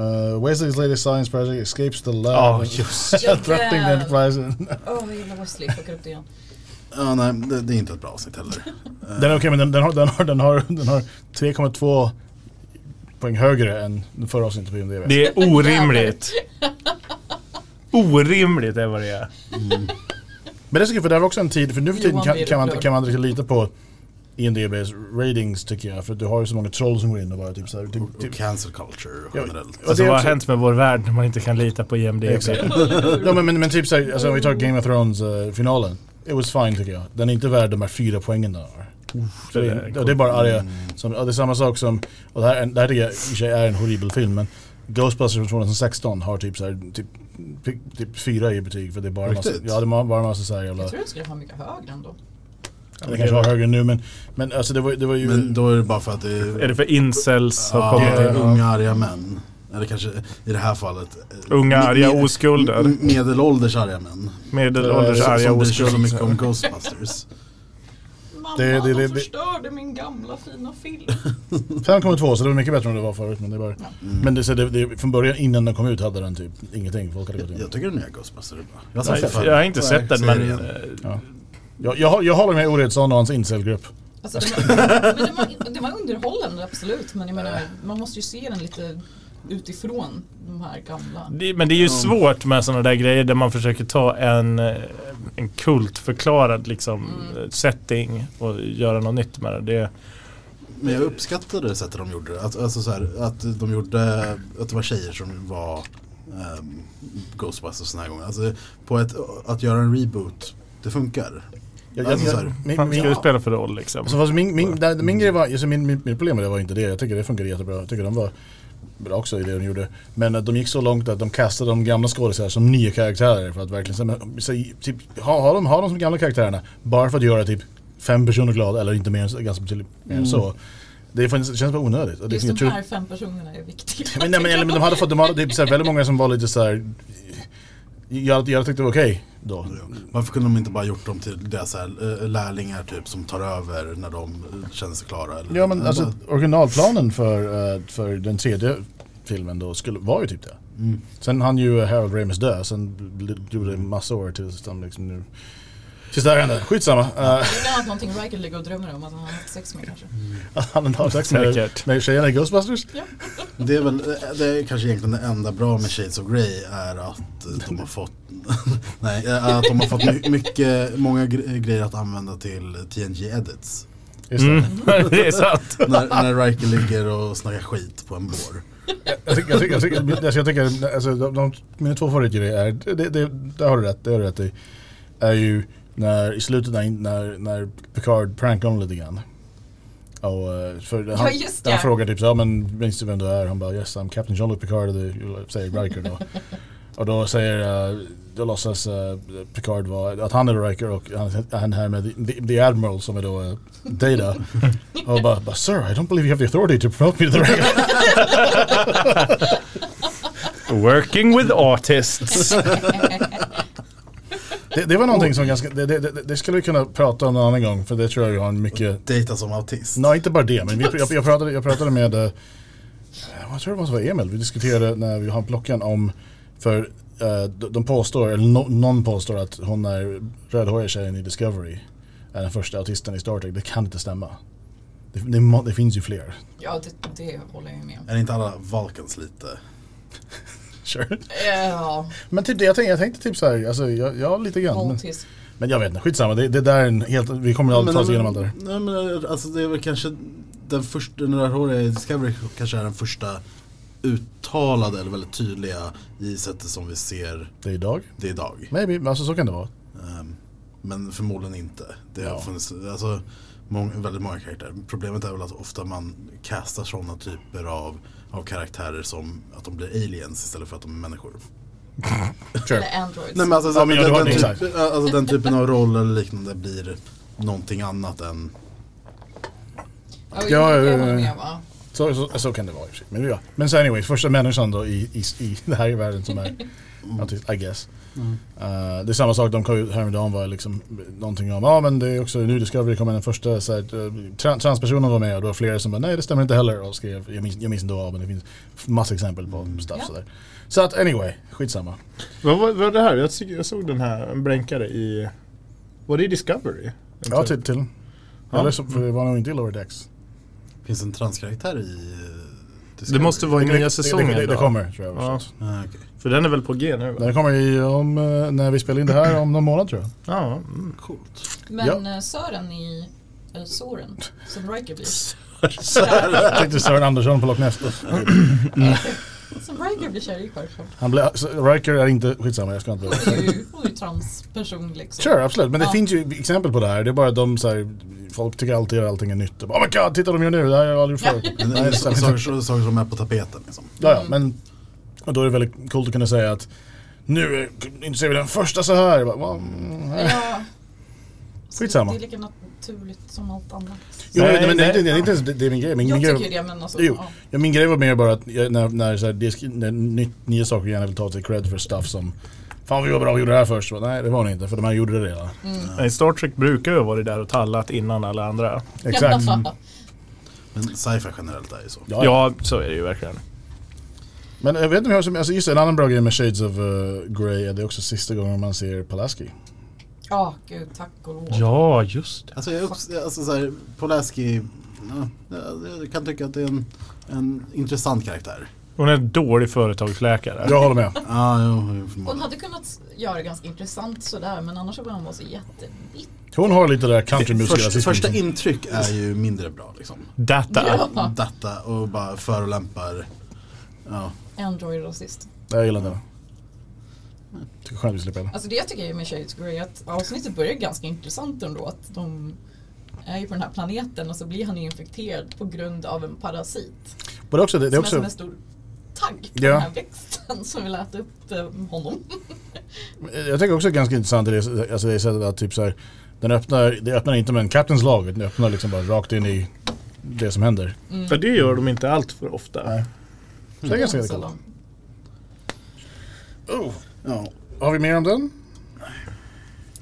Speaker 2: Uh, Wesley's latest science project escapes the
Speaker 4: Ja,
Speaker 2: lab.
Speaker 4: just
Speaker 2: Attracting the enterprise.
Speaker 3: Åh, jag gillar Wesley, fuckar upp det igen.
Speaker 5: Ja, nej, det, det är inte ett bra avsnitt heller.
Speaker 2: Den är okej, men den, den har, den har, den har, den har 3,2 poäng högre än den förra avsnittet på IMDB.
Speaker 4: Det är orimligt. Orimligt är vad det är.
Speaker 2: Men det är så kul, för det här var också en tid, för nu för tiden
Speaker 3: Johan
Speaker 2: kan,
Speaker 3: blir
Speaker 2: kan, man,
Speaker 3: upprörd.
Speaker 2: kan man riktigt lita på IMDBs ratings tycker jag, för att du har ju så många troll som går in och bara typ såhär... Typ, typ,
Speaker 5: Och cancel culture
Speaker 2: Ja,
Speaker 5: generellt.
Speaker 2: och
Speaker 4: Alltså,
Speaker 2: det är
Speaker 4: vad har
Speaker 2: också-
Speaker 4: hänt med vår värld när man inte kan lita på IMDB?
Speaker 2: Exakt. Ja men, men, men typ såhär, alltså, om vi tar Game of Thrones-finalen. it was fine tycker jag. Den är inte värd de här fyra poängen den har. Så det, är, och det är bara arga. Som, och det är samma sak som, och det här, det här tycker jag i och för sig är en horribel film men Ghostbusters från 2016 har typ såhär, typ, typ, typ fyra i betyg för det är bara en massa,
Speaker 5: Riktigt?
Speaker 2: ja det är bara en massa såhär jävla,
Speaker 3: Jag tror det skulle vara mycket högre ändå.
Speaker 2: det kanske var högre nu men, men alltså det var, det var ju,
Speaker 5: Men då är det bara för att det
Speaker 4: Är det för incels har
Speaker 5: Ja,
Speaker 4: kommit
Speaker 5: det
Speaker 2: in.
Speaker 5: är
Speaker 4: in?
Speaker 5: unga arga män. Eller kanske i det här fallet. eh,
Speaker 4: Unga,
Speaker 5: me-
Speaker 4: arga
Speaker 5: me-
Speaker 4: oskulder.
Speaker 5: m- Medelålders arga män.
Speaker 4: Medelålders
Speaker 5: Som-
Speaker 4: arga
Speaker 5: Som bryr sig så
Speaker 4: oskulder.
Speaker 5: mycket om Ghostbusters.
Speaker 3: Mamma,
Speaker 2: Det- det- det-
Speaker 3: de förstörde min gamla fina film.
Speaker 2: 5,2 så det var mycket bättre än det var förut men det är bara, men det, så det, det, från början innan den kom ut hade den typ ingenting, folk hade gått in.
Speaker 5: Jag tycker den nya Ghostbusters är bra. Jag har sett det
Speaker 4: Nej,
Speaker 5: förr.
Speaker 4: Jag har inte
Speaker 5: Nej,
Speaker 4: sett den
Speaker 5: säger det
Speaker 4: men...
Speaker 5: igen.
Speaker 4: eh,
Speaker 2: Jag, jag, jag håller med Oredsson och hans incelgrupp.
Speaker 3: Alltså, det, var, men det, var, det var underhållande, absolut. Men jag menar, man måste ju se den lite utifrån de här gamla.
Speaker 4: det- Men det är ju svårt med sådana där grejer där man försöker ta en, eh, en kultförklarad liksom, eh, setting och göra något nytt med det. det.
Speaker 5: Men jag uppskattade det sättet de gjorde det. Att, alltså så här, att de gjorde, att det var tjejer som var ehm, Ghostbusters den här gången. Alltså på ett, att göra en reboot, det funkar.
Speaker 2: Jag,
Speaker 5: Alltså så här,
Speaker 2: min,
Speaker 4: Vad
Speaker 2: min,
Speaker 4: ska du spela för roll liksom?
Speaker 2: alltså, fast min, min, där, min grej var, alltså, min, min, min problem med det var inte det, jag tycker det funkade jättebra, jag tycker de var bra också i det de gjorde. Men att de gick så långt att de kastade de gamla skådisarna som nya karaktärer för att verkligen, så, men, så, typ, ha, ha, dem, ha dem som gamla karaktärerna, bara för att göra typ fem personer glada eller inte mer än så- ganska betydligt mer än så. Det, är faktiskt- det känns bara onödigt. Och det är
Speaker 3: Just
Speaker 2: som jag tror-
Speaker 3: de här fem personerna är viktiga.
Speaker 2: Men, nej, men, eller, men de hade fått, de hade typ såhär, väldigt många som var lite såhär, jag, jag tyckte det var okej då.
Speaker 5: Varför kunde de inte bara gjort dem till deras så här, eh, lärlingar typ som tar över när de eh, känner sig klara? Eller,
Speaker 2: Ja men alltså
Speaker 5: bara-
Speaker 2: originalplanen för, eh, för den tredje filmen då skulle, var ju typ det. Sen han ju Harold Ramis dö, sen bl- gjorde det massa år tills han liksom nu... Tills det här hände, skitsamma. Eh,
Speaker 3: Det är bland annat någonting Riker ligger och drömmer om att han har haft sex med kanske.
Speaker 2: att han har sex med,
Speaker 4: Säkert.
Speaker 2: med tjejerna i Ghostbusters.
Speaker 5: Det är väl, det är kanske egentligen det enda bra med Shades of Grey är att de har fått, nej, att de har fått my- mycket, många gre- grejer att använda till TNG-edits.
Speaker 2: Just det.
Speaker 4: det är sant.
Speaker 5: När, när Riker ligger och snackar skit på en bår.
Speaker 2: Jag tycker, jag tycker, jag tycker, alltså jag tycker alltså, de, de, mina två favoritgrejer är, det, det, det har du rätt, det har du rätt i, är ju när, i slutet när, när, när Picard prankar honom lite grann. Och, eh, för han,
Speaker 3: Ja, just det.
Speaker 2: han frågar typ så, ja men minns du vem du är? Han bara yes I'm Captain John Luke Picard, och det- säger Riker då. och då säger, eh, då låtsas eh, Picard vara, att han är Riker och han, han här med the, the, the Admiral som är då eh, Data. och bara, bara sir I don't believe you have the authority to promote me to the rank
Speaker 4: Working with artists.
Speaker 2: Det, det var någonting som ganska, det, det, det, det skulle vi kunna prata om en annan gång för det tror jag vi har en mycket,
Speaker 5: Data som autist.
Speaker 2: nej inte bara det men vi, jag, jag, pratade, jag pratade med, eh, jag tror det måste vara Emil, vi diskuterade när vi hann plockan om, för eh, de de påstår, eller no, någon påstår att hon är rödhåriga tjejen i Discovery är den första autisten i Star Trek, det kan inte stämma. Det, det, må- det finns ju fler.
Speaker 3: Ja, det, det håller jag ju med om.
Speaker 2: Äh.
Speaker 5: Är inte alla Valkans lite?
Speaker 2: Sure.
Speaker 3: Ja,
Speaker 2: Men typ det, jag tänkte, jag tänkte typ så här, alltså jag, jag lite grann. Men,
Speaker 3: Voltis.
Speaker 2: men jag vet inte, skitsamma, det, det där är en helt, vi kommer aldrig ta oss igenom allt det där.
Speaker 5: Nej men alltså det är väl kanske den första, den där håriga i Discovery kanske är den första uttalade eller väldigt tydliga i sättet som vi ser
Speaker 2: Det är idag.
Speaker 5: det idag.
Speaker 2: Maybe, men alltså så kan det vara.
Speaker 5: Ehm, Men förmodligen inte. Det har
Speaker 2: Ja.
Speaker 5: funnits alltså, mång, väldigt många karaktärer. Problemet är väl att ofta man castar sådana typer av, av karaktärer som att de blir aliens istället för att de är människor.
Speaker 2: Sure.
Speaker 3: Eller Androids.
Speaker 5: Nej men alltså,
Speaker 2: Ja, men ja,
Speaker 5: den,
Speaker 2: du har
Speaker 5: den,
Speaker 2: det,
Speaker 5: typ, alltså den typen av roll eller liknande blir någonting annat än
Speaker 3: ja,
Speaker 2: Ja,
Speaker 3: jag, jag
Speaker 2: eh,
Speaker 3: håller med va?
Speaker 2: Så, så, så kan det vara i och för sig. Men, ja. Men så anyways, första människan då i, i, i den här världen som är autist, I guess. Eh, det är samma sak, de kom ut häromdagen var liksom någonting om, ja ah, men det är också nu Discovery kommer den första så här, eh, tran, transpersonen var med och då var flera som bara nej det stämmer inte heller och skrev, jag minns, jag minns inte vad men det finns massa exempel på stuff
Speaker 3: Ja.
Speaker 2: sådär. Så att anyway, skitsamma.
Speaker 4: vad var, vad var det här? Jag, tycker- jag såg den här, en blänkare i... Var det i Discovery?
Speaker 2: Ja till, till.
Speaker 4: Ja.
Speaker 2: Eller så för det var nog inte i Lower Decks.
Speaker 5: Finns en transkaraktär i eh,
Speaker 4: Det
Speaker 5: Discovery?
Speaker 4: måste vara i
Speaker 2: Det- det-
Speaker 4: nya
Speaker 2: det-
Speaker 4: säsongen
Speaker 2: Det, det, det
Speaker 4: då.
Speaker 2: kommer tror jag.
Speaker 4: Ja.
Speaker 2: förstås.
Speaker 5: Ah, okej.
Speaker 4: För den är väl på G nu? Va?
Speaker 2: Det kommer i om, eh, när vi spelar in det här om någon månad tror jag.
Speaker 4: Ja. Mm.
Speaker 5: Coolt.
Speaker 3: Men eh, Sören i eh, Soren, som Riker blir.
Speaker 2: Jag tänkte Sören Andersson på Loch Ness.
Speaker 3: Som Riker blir kär i självklart.
Speaker 2: Han blev, så Riker är inte, skitsamma jag ska inte
Speaker 3: Hon är ju- hon är ju transperson liksom.
Speaker 2: Sure, absolut. Men det
Speaker 3: Ja.
Speaker 2: finns ju exempel på det här. Det är bara de så här, folk tycker alltid att allting är nytt. Och bara, Oh my god, titta de gör nu, det här har jag aldrig gjort förut.
Speaker 5: Men det
Speaker 2: Nej,
Speaker 5: är
Speaker 2: det
Speaker 5: saker,
Speaker 2: stämmer.
Speaker 5: saker, saker som är på tapeten liksom.
Speaker 2: Ja, ja, men och då är det väldigt coolt att kunna säga att nu är- inte ser vi den första så här. Jag Bara, "Va, mm, nej."
Speaker 3: Ja. Så
Speaker 2: Skitsamma.
Speaker 3: Det är lika naturligt som allt annat.
Speaker 2: Jo,
Speaker 4: Nej,
Speaker 2: nej, men det,
Speaker 4: nej.
Speaker 2: det, det, är inte ens- det, det är min grej. Min,
Speaker 3: Jag
Speaker 2: min
Speaker 3: tycker
Speaker 2: grej
Speaker 3: ju det men alltså.
Speaker 2: Jo,
Speaker 3: Ja.
Speaker 2: ja, min grej var mer bara att jag, när, när, så här, det, sk- när ny, nya saker gärna vill ta åt sig cred för stuff som Fan vi var bra, vi gjorde det här först. Så, nej det var ni inte, för de här gjorde det redan.
Speaker 3: Mm.
Speaker 4: Nej, Star Trek brukar ju ha varit där och tallat innan alla andra.
Speaker 2: Exakt. Mm.
Speaker 5: Men sci-fi generellt är ju så.
Speaker 2: Ja,
Speaker 4: Ja, så är det ju verkligen.
Speaker 2: Men jag vet inte om jag har som, alltså just det, en annan bra grej med Shades of eh, Grey är det också sista gången man ser Palaski.
Speaker 3: Ja, gud tack och lov.
Speaker 4: Ja, just det.
Speaker 5: Alltså, jag upps- alltså så här, Polaski, ja, jag jag kan tycka att det är en, en intressant karaktär.
Speaker 4: Hon är en dålig företagsläkare.
Speaker 2: Jag håller med.
Speaker 5: Ja, jo,
Speaker 3: Hon
Speaker 5: förmodligen.
Speaker 3: hade kunnat göra det ganska intressant sådär men annars så började hon vara så jättebitter.
Speaker 2: Hon har lite det där countrymusik
Speaker 5: Först,
Speaker 2: rasismen.
Speaker 5: första
Speaker 2: som-
Speaker 5: intryck är ju mindre bra liksom.
Speaker 4: Data.
Speaker 3: Ja.
Speaker 5: Detta och bara förolämpar. Ja,
Speaker 3: Android-rasist.
Speaker 2: Jag gillar inte det. Tycker skönt vi slipper det.
Speaker 3: Alltså det jag tycker är med Shades Grey att avsnittet börjar ganska intressant ändå att de är ju på den här planeten och så blir han ju infekterad på grund av en parasit.
Speaker 2: Men det är också, det, det är
Speaker 3: Som är som
Speaker 2: också
Speaker 3: en stor tagg på
Speaker 2: Ja.
Speaker 3: den här växten som vill äta upp eh, honom.
Speaker 2: eh, jag tycker också det är ganska intressant i det, alltså det sättet att typ så här, den öppnar, det öppnar inte med en Captains lag, utan det öppnar liksom bara rakt in i det som händer.
Speaker 4: För det gör de inte allt för ofta.
Speaker 2: Nej. Så det är ganska
Speaker 3: Så
Speaker 2: coolt.
Speaker 3: de-
Speaker 2: Oh,
Speaker 5: ja.
Speaker 2: har vi mer om den?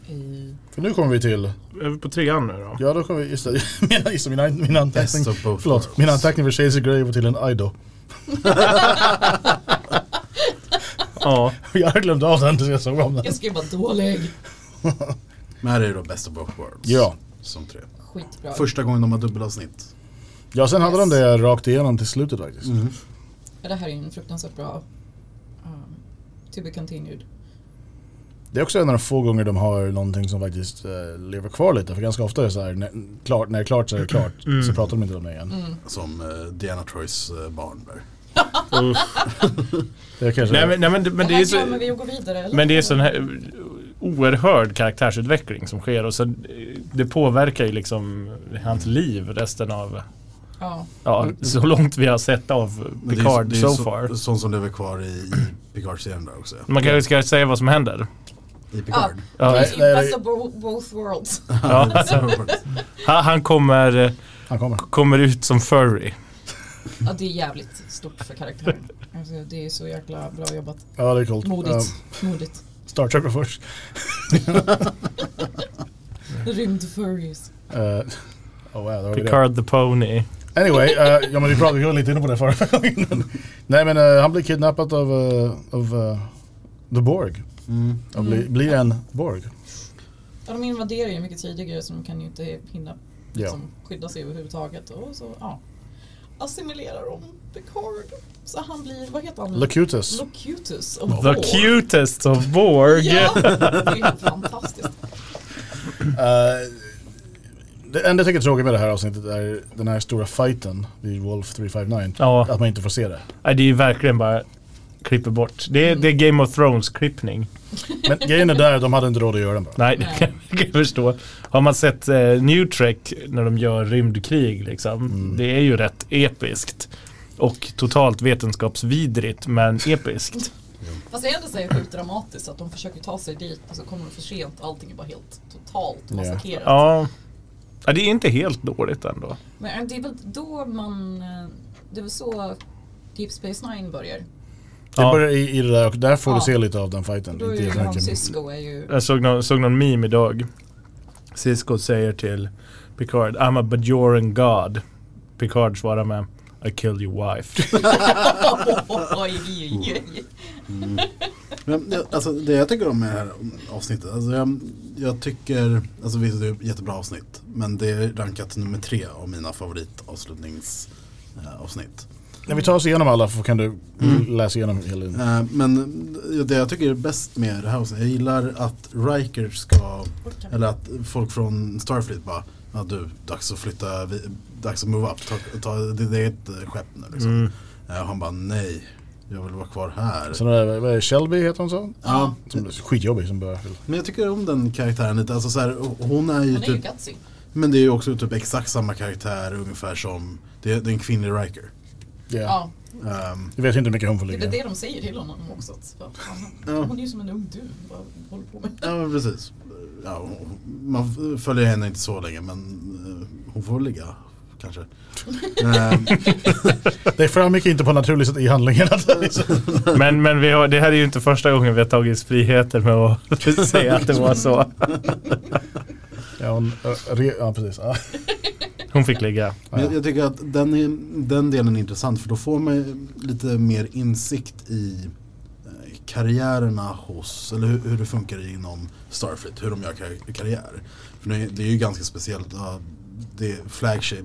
Speaker 3: Eh,
Speaker 2: För nu kommer vi till,
Speaker 4: Är vi på trean nu då?
Speaker 2: ja då kommer vi, just det, mina, just det, mina, mina
Speaker 5: Best
Speaker 2: anteckningar,
Speaker 5: of both
Speaker 2: förlåt,
Speaker 5: worlds.
Speaker 2: mina anteckningar för Shades of Grey var till en Ido.
Speaker 4: Ja.
Speaker 2: Jag har glömt av den tills jag såg om den.
Speaker 3: Jag ska ju vara dålig.
Speaker 5: Men här är det då Best of Both Worlds.
Speaker 2: Ja.
Speaker 5: Som tre.
Speaker 3: Skitbra.
Speaker 5: Första gången de har dubbelavsnitt.
Speaker 2: Ja, sen hade de det rakt igenom till slutet faktiskt.
Speaker 3: Ja, Det här är ju en fruktansvärt bra um, To be continued.
Speaker 2: Det är också en av de få gånger de har någonting som faktiskt eh, lever kvar lite. För ganska ofta är det så här, när, klart, när det är klart så är det klart. Så pratar de inte om det igen.
Speaker 5: Som eh, Diana Troys eh, barn. där.
Speaker 2: Det är kanske
Speaker 4: Nej, men, nej, men, det- men det är
Speaker 3: här
Speaker 4: så...
Speaker 3: glömmer vi att gå vidare eller?
Speaker 4: Men det är sån här oerhörd karaktärsutveckling som sker och så eh, det påverkar ju liksom hans liv resten av,
Speaker 3: Ja.
Speaker 4: ja, så långt vi har sett av
Speaker 5: Men det är ju-
Speaker 4: Picard
Speaker 5: det är ju
Speaker 4: so
Speaker 5: så-
Speaker 4: far.
Speaker 5: Sånt som lever kvar i, i Picard-serien där också.
Speaker 4: Man kanske ska säga vad som händer.
Speaker 5: I Picard.
Speaker 4: Ja,
Speaker 2: Nej,
Speaker 3: It's
Speaker 2: nej,
Speaker 3: best
Speaker 2: det-
Speaker 3: of bo- both worlds.
Speaker 4: ja. Ha- Han kommer, eh,
Speaker 2: han kommer.
Speaker 4: kommer ut som furry.
Speaker 3: Ja, det är jävligt stort för karaktären. Alltså, det är så jäkla bra jobbat.
Speaker 2: Ja, det är coolt. Ja,
Speaker 3: Modigt. Modigt.
Speaker 2: Star Trek var först.
Speaker 3: Rymdfurries.
Speaker 2: Eh, oh, wow, det var det.
Speaker 4: Picard the Pony.
Speaker 2: Anyway, eh, ja men vi pratade ju lite inne på det förra gången. Nej men eh, han blir kidnappad av, eh, av eh, The Borg.
Speaker 5: Mm.
Speaker 2: Och blir, blir en Borg.
Speaker 3: Ja, de invaderar ju mycket tidigare så de kan ju inte hinna
Speaker 2: Ja.
Speaker 3: liksom, skydda sig överhuvudtaget. Och så, ja. Assimilerar de Picard. Så han blir, vad heter han? nu?
Speaker 2: Locutus.
Speaker 3: Locutus.
Speaker 4: The cutest of Borg.
Speaker 3: Ja, det är ju fantastiskt.
Speaker 2: Eh, det enda jag tycker är tråkigt med det här avsnittet är den här stora fighten vid Wolf 359.
Speaker 4: Ja.
Speaker 2: Att man inte får se det.
Speaker 4: Nej, Det är ju verkligen bara klipper bort. Det är, det är Game of Thrones-klippning.
Speaker 2: Men grejen är där, de hade inte råd att göra den bara.
Speaker 4: Nej, det kan jag kan förstå. Har man sett eh, New Trek när de gör rymdkrig, liksom, det är ju rätt episkt. Och totalt vetenskapsvidrigt, men episkt.
Speaker 3: Fast jag ändå säger sjukt dramatiskt att de försöker ta sig dit och så kommer de för sent. Allting är bara helt totalt
Speaker 2: Ja.
Speaker 3: massakrerat.
Speaker 4: ja. ja, det är inte helt dåligt ändå.
Speaker 3: Men det är väl då man... eh, Det var så Deep Space Nine börjar.
Speaker 2: Det
Speaker 4: Ja.
Speaker 2: börjar i, i det där och där får
Speaker 3: Ja.
Speaker 2: du se lite av den fighten.
Speaker 3: Då är
Speaker 2: Inte
Speaker 3: ju
Speaker 2: jättemycket.
Speaker 3: Han Cisco är ju...
Speaker 4: Jag såg någon, såg någon meme idag. Cisco säger till Picard, I'm a Bajoran God. Picard svarar med, I kill your wife.
Speaker 3: Oj, oj, oj, oj.
Speaker 5: Men, det- alltså, det jag tycker om med det här avsnittet, alltså, jag, jag tycker, alltså visst det är ett jättebra avsnitt, men det är rankat nummer tre av mina eh, favoritavslutningsavsnitt.
Speaker 2: När vi tar oss igenom alla så kan du
Speaker 5: Mm.
Speaker 2: läsa igenom hela.
Speaker 5: Eh, Men det jag tycker är bäst med det här avsnittet, jag gillar att Riker ska, eller att folk från Starfleet bara, ja du, dags att flytta, vi, dags att move up, ta, ta ditt eget eh, skepp nu liksom. Eh, Och han bara, nej, jag vill vara kvar här.
Speaker 2: Sen är det, vad är det, Shelby heter hon så?
Speaker 5: Ja,
Speaker 2: Som är skitjobbig som börjar.
Speaker 5: men jag tycker om den karaktären lite, alltså så här, hon är ju
Speaker 3: Han är ju
Speaker 5: typ
Speaker 3: gutsy.
Speaker 5: Men det är ju också typ exakt samma karaktär ungefär som det är, det är en kvinnlig Riker.
Speaker 2: Ja.
Speaker 3: Ja,
Speaker 5: Ehm,
Speaker 2: Jag vet inte hur mycket hon får
Speaker 3: det är
Speaker 2: ligga.
Speaker 3: väl det de säger till honom också. Att, fan,
Speaker 5: Ja.
Speaker 3: hon är ju som en ung du. Vad håller du på med?
Speaker 5: ja men precis. Ja, hon- man följer henne inte så länge men eh, hon får ligga kanske. Ehm,
Speaker 2: Det framgick inte på naturligt sätt i handlingen. att det är så.
Speaker 4: men men vi har, det här är ju inte första gången vi har tagit friheter med att säga att det var så.
Speaker 2: ja, hon, ö, re, ja, precis. Ja.
Speaker 4: Hon fick ligga.
Speaker 5: men jag, jag tycker att den, är, den delen är intressant för då får man lite mer insikt i eh, karriärerna hos, eller hur, hur det funkar inom Starfleet, hur de gör kar- karriär. För det är, det är ju ganska speciellt, ja, det är flagship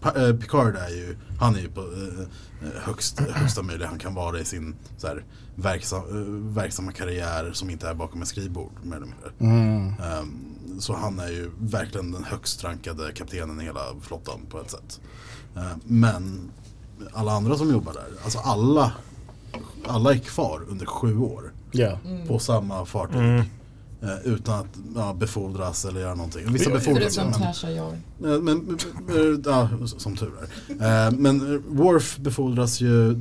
Speaker 5: Pa- eh, Picard är ju, han är ju på eh, eh, högst, högsta möjliga han kan vara i sin så här, verksam, eh, verksamma karriär som inte är bakom ett skrivbord mer eller mindre.
Speaker 2: Mm.
Speaker 5: Ehm, så han är ju verkligen den högst rankade kaptenen i hela flottan på ett sätt. Ehm, men alla andra som jobbar där, alltså alla, alla är kvar under sju år
Speaker 2: Ja.
Speaker 3: Mm.
Speaker 5: på samma fartyg. eh, Utan att ja, befordras eller göra någonting. Vissa befordras ju,
Speaker 3: Förutom
Speaker 5: men-
Speaker 3: Tasha Yar.
Speaker 5: men, men, eh, ja, som tur är. Eh, Men eh, Worf befordras ju, eh,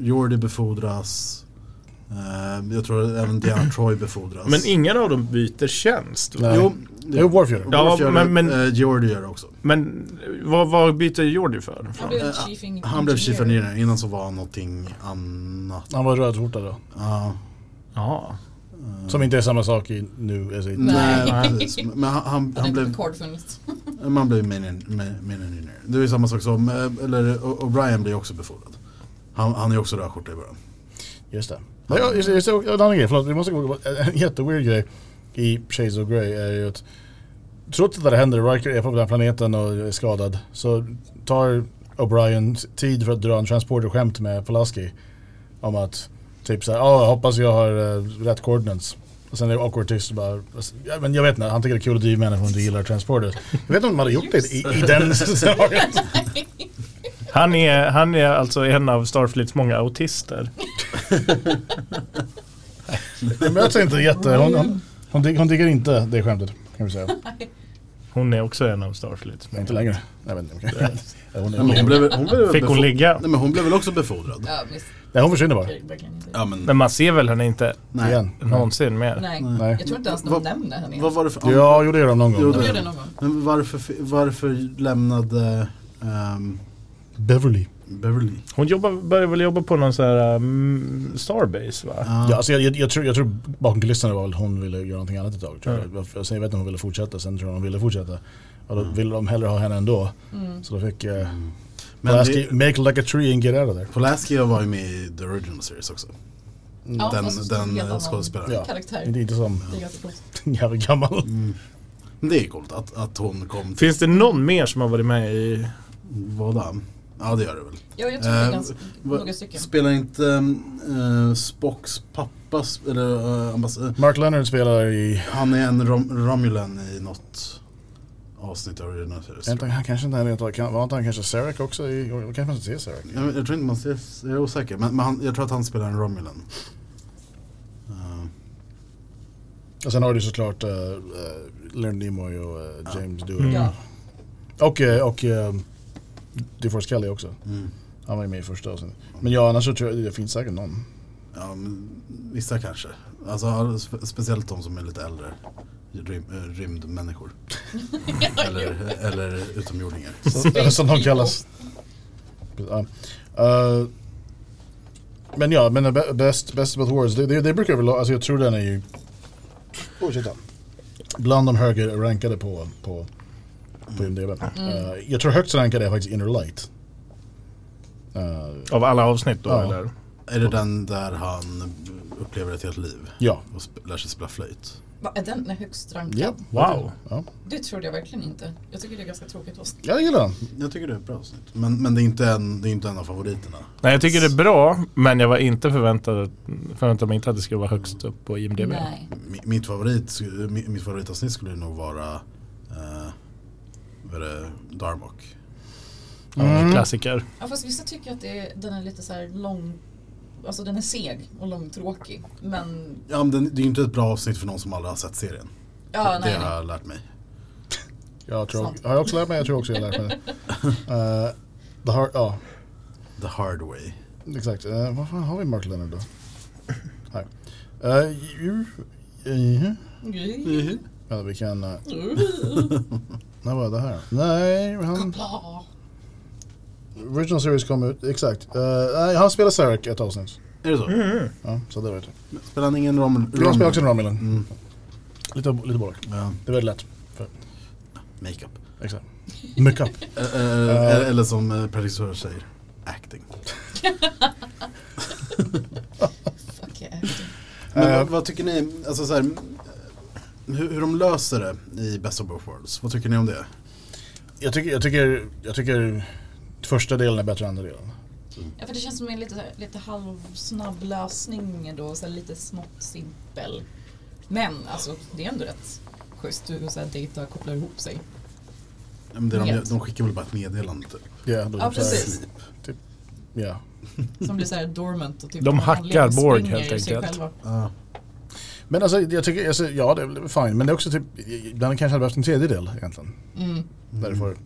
Speaker 5: Jordi befordras, eh, jag tror även Diana Troy befordras.
Speaker 4: Men ingen av dem byter tjänst.
Speaker 2: Nej.
Speaker 5: Jo,
Speaker 2: Jo, Worf gör det.
Speaker 4: Ja,
Speaker 5: Worf gör
Speaker 4: men- men-
Speaker 5: eh, Jordi gör det också.
Speaker 4: Men vad, vad byter Jordi för?
Speaker 3: Han blev
Speaker 5: Eh,
Speaker 3: chief engineer.
Speaker 5: Han blev chief engineer, innan så var han någonting annat.
Speaker 2: Han var rödskjorta då.
Speaker 5: Ja,
Speaker 4: Ja.
Speaker 2: Som inte är samma sak i nu. Alltså, i-
Speaker 5: Nej,
Speaker 3: Nej.
Speaker 5: precis. Men han, han,
Speaker 3: Hade
Speaker 5: han,
Speaker 3: inte
Speaker 5: blev,
Speaker 3: Picard funnits.
Speaker 5: man blev minin- mi- minionär. Det är ju samma sak som, eh, eller O- O'Brien blir också befordrad. Han, han är också rödskjorta i början.
Speaker 2: Just det. Ja, ja, just, det, just, det, och en annan grej, förlåt. Vi måste gå på en jätteweird grej i Shades of Grey är ju att trots att det händer, Riker är på den här planeten och är skadad, så tar O'Brien tid för att dra en transporter-skämt med Pulaski om att typ såhär, ja, jag hoppas jag har eh, rätt coordinates. Och sen är det awkward tyst och bara, alltså, ja, men jag vet inte, han tycker det är kul att driva med henne för hon inte gillar transporter. Jag vet inte om de hade gjort det i, i den scenariot.
Speaker 4: Han är, han är alltså en av Starfleets många autister.
Speaker 2: Det möts inte jätte, hon, hon, hon, dig- hon digger inte det skämtet kan vi säga.
Speaker 4: Hon är också en av Starfleets.
Speaker 2: Nej, inte längre. Nej, men, okay. hon,
Speaker 5: Nej, men hon,
Speaker 2: hon,
Speaker 5: blev, hon, blev
Speaker 4: Fick hon
Speaker 5: befo-
Speaker 4: ligga?
Speaker 5: Nej, men hon blev väl också befordrad?
Speaker 3: Ja, miss.
Speaker 2: nej, hon försvinner bara.
Speaker 3: verkligen inte.
Speaker 5: Ja, men,
Speaker 4: Men man ser väl henne inte
Speaker 5: nej.
Speaker 2: Igen.
Speaker 4: någonsin mer.
Speaker 3: Nej,
Speaker 2: Nej.
Speaker 3: jag tror inte ens
Speaker 5: Vad-
Speaker 3: de nämnde henne.
Speaker 5: Vad
Speaker 3: ens.
Speaker 5: var det för
Speaker 2: Ja, jo det gör de någon gång.
Speaker 5: Jo,
Speaker 3: De
Speaker 5: det-
Speaker 3: gjorde det någon gång.
Speaker 5: Men varför, varför lämnade ehm,
Speaker 2: Beverly.
Speaker 5: Beverly?
Speaker 4: Hon jobbar, börjar väl jobba på någon sån här um, Starbase va?
Speaker 5: Ah.
Speaker 2: Ja, alltså jag, jag, jag, tror, jag tror bakom kulisserna var väl hon ville göra någonting annat ett tag. Tror jag. Jag, jag vet inte om hon ville fortsätta, sen tror jag hon ville fortsätta. Och då ville de hellre ha henne ändå. Så då fick eh,
Speaker 5: Men
Speaker 2: Pulaski,
Speaker 5: det-
Speaker 2: make like a tree and get out of there.
Speaker 5: Pulaski var ju med i The Original Series också.
Speaker 3: Ja,
Speaker 5: den
Speaker 3: fast
Speaker 5: den
Speaker 3: helt annan
Speaker 5: skådespelaren.
Speaker 2: Ja.
Speaker 3: Karaktär.
Speaker 2: Inte, inte som Mm.
Speaker 3: Det är ganska coolt.
Speaker 2: en jävla gammal.
Speaker 5: Men Det är coolt att, att hon kom till
Speaker 4: Finns det någon mer som har varit med i...
Speaker 5: båda. Ja det gör det väl.
Speaker 3: Ja, jag tror det är
Speaker 5: Eh,
Speaker 3: ganska,
Speaker 5: va-
Speaker 3: några stycken.
Speaker 5: Spelar inte eh, Spocks pappa, sp- eller eh, ambass-
Speaker 2: Mark Leonard spelar i...
Speaker 5: han är en Rom- Romulan i något avsnitt av Original Series.
Speaker 2: Jag vet inte, Han kanske inte hade... kan- Var inte han kanske Sarek också? I, jag kanske man inte ser Sarek.
Speaker 5: Jag, jag tror inte man ser, jag är osäker, men, men han, jag tror att han spelar en Romulan. Eh,
Speaker 2: Och sen har du såklart eh, eh, Leonard Nimoy och eh, James Doohan.
Speaker 3: Ja.
Speaker 2: Och, eh, och eh, DeForest Kelly också.
Speaker 5: Mm.
Speaker 2: Han var ju med i första avsnittet. Men ja, annars så tror jag det finns säkert någon.
Speaker 5: Ja, men vissa kanske. Alltså, all- spe- speciellt de som är lite äldre. Rym, eh, rymdmänniskor. eller, eller utomjordingar.
Speaker 2: Så- Eller som de
Speaker 3: people.
Speaker 2: kallas. Ja. Eh, men ja, men eh, Best, best About Wars, det, det, det brukar väl, alltså jag tror den är ju... Oh, ursäkta. Bland de högre rankade på, på, på IMDB. Eh, jag tror högst rankade är faktiskt Inner Light. Eh,
Speaker 4: Av alla avsnitt då
Speaker 2: Ja.
Speaker 4: eller?
Speaker 5: Är det den där han upplever ett helt liv?
Speaker 2: ja.
Speaker 5: Och sp- lär sig spela flöjt?
Speaker 3: Va, är den högst rankad?
Speaker 2: Ja,
Speaker 4: Wow.
Speaker 2: Ja.
Speaker 3: Det trodde jag verkligen inte. Jag tycker det är ganska tråkigt oss.
Speaker 2: Jag gillar den.
Speaker 5: Jag tycker det är ett bra avsnitt. Men, men det, är inte en, det är inte en av favoriterna.
Speaker 4: Nej jag tycker det är bra men jag var inte förväntad, förväntad mig inte att det skulle vara högst upp på IMDB.
Speaker 3: Nej.
Speaker 5: Mi- Mitt, favorit, sk- mi- mitt favoritavsnitt skulle nog vara eh, vad är det, Darmok.
Speaker 4: Ja, Klassiker.
Speaker 3: Ja, fast vissa tycker att det är, den är lite så här lång... Alltså den är seg och långtråkig. Men...
Speaker 5: Ja, men den- det är ju inte ett bra avsnitt för någon som aldrig har sett serien.
Speaker 3: Ja,
Speaker 5: det
Speaker 3: nej.
Speaker 5: har
Speaker 3: nej.
Speaker 5: jag lärt mig.
Speaker 2: Jag tror,
Speaker 3: Sant.
Speaker 2: har jag också lärt mig? Jag tror också jag har lärt mig det. Eh, the hard, ja,
Speaker 5: The hard way.
Speaker 2: exakt. Uh, vad fan har vi Mark Leonard då? Nej. Uh, ju, uh, ja, vi kan... Uh, när var det här? Nej, han...
Speaker 3: Koppla.
Speaker 2: Original Series kom ut, exakt. Eh, nej, han spelar Sarek ett avsnitt.
Speaker 5: Är det så?
Speaker 2: Ja, så det vet jag.
Speaker 5: Spelar han ingen rom...
Speaker 2: Mhm. Jag spelar också en
Speaker 5: rom-
Speaker 2: Romulan. Lite, lite både.
Speaker 5: Ja,
Speaker 2: Det är väldigt lätt. För,
Speaker 5: makeup.
Speaker 2: exakt. Mycket.
Speaker 5: Eh, eh, eller som eh, Patrick Stewart säger, acting.
Speaker 3: Fuck yeah.
Speaker 5: Men
Speaker 2: Eh.
Speaker 5: vad, vad tycker ni, alltså så här, hur, hur de löser det i Best of Both Worlds? Vad tycker ni om det?
Speaker 2: Jag tycker, jag tycker, jag tycker första delen är bättre än andra delen.
Speaker 3: Ja, för det känns som en lite, så här- lite halvsnabb lösning ändå. Så här lite smått simpel. Men alltså, det är ändå rätt schysst hur så här data kopplar ihop sig.
Speaker 5: Ja, men det de,
Speaker 3: Yes.
Speaker 5: de skickar väl bara ett meddelande typ.
Speaker 2: Ja, då så
Speaker 3: Ja,
Speaker 2: här- typ,
Speaker 3: precis.
Speaker 2: Ja.
Speaker 3: Som blir så här dormant och typ...
Speaker 4: De
Speaker 3: av någon
Speaker 4: hackar
Speaker 3: anledning
Speaker 4: Borg,
Speaker 3: springer
Speaker 4: helt
Speaker 3: ur sig
Speaker 4: enkelt.
Speaker 3: själva.
Speaker 5: Ja.
Speaker 2: Men alltså jag tycker, alltså, ja det är väl fine, men det är också typ, den kanske hade behövt en tredjedel egentligen.
Speaker 3: Mm.
Speaker 2: Därför.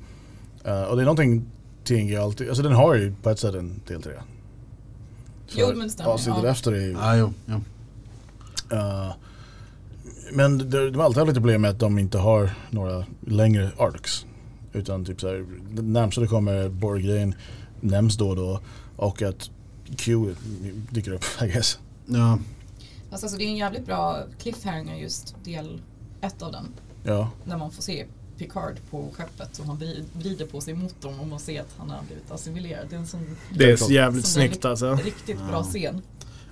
Speaker 2: Eh, och det är någonting TNG alltid, alltså den har ju på ett sätt en del tre.
Speaker 3: Jo, men det stämmer,
Speaker 2: Avsnittet
Speaker 3: ja.
Speaker 2: efter är ju...
Speaker 5: Ah, jo, jo.
Speaker 2: eh, men de, de har alltid haft lite problem med att de inte har några längre arcs. Utan typ såhär, det närmsta det kommer Borg-grejen nämns då och då. Och att Q dyker upp, I guess.
Speaker 5: Ja.
Speaker 3: Fast alltså det är en jävligt bra cliffhanger just del ett av den.
Speaker 2: Ja.
Speaker 3: När man får se Picard på skeppet och han vri- vrider på sig motorn och man ser att han har blivit assimilerad. Det är en sån
Speaker 4: Det är så jävligt
Speaker 3: Som det är
Speaker 4: snyggt alltså.
Speaker 3: riktigt bra scen.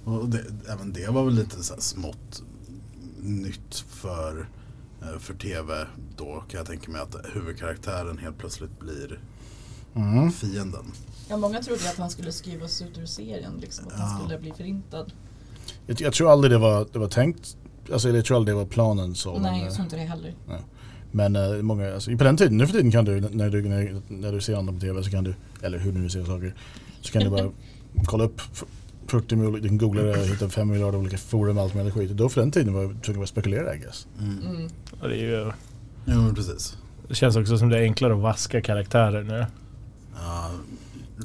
Speaker 5: Och det, även det var väl lite så här smått nytt för, eh, för tv då kan jag tänka mig att huvudkaraktären helt plötsligt blir
Speaker 2: Mm.
Speaker 5: fienden.
Speaker 3: Ja, många trodde att han skulle skrivas ut ur serien, liksom, att han skulle bli förintad.
Speaker 2: Jag, jag tror aldrig det var, det var tänkt. Alltså eller jag tror aldrig det var planen så.
Speaker 3: Nej,
Speaker 2: men,
Speaker 3: jag
Speaker 2: eh,
Speaker 3: tror inte det heller.
Speaker 2: Men eh, många, alltså, på den tiden, nu för tiden kan du, när du, när, när du ser andra på TV så kan du, eller hur du nu ser saker, så kan du bara kolla upp f- 40 miljoner, du kan googla det och hitta 5 miljarder olika forum och allt möjligt skit. Då för den tiden var jag tvungen att spekulera I guess.
Speaker 3: Mm.
Speaker 4: Ja, Det, är ju,
Speaker 5: Jo men precis.
Speaker 4: det känns också som det är enklare att vaska karaktärer nu.
Speaker 5: Ja,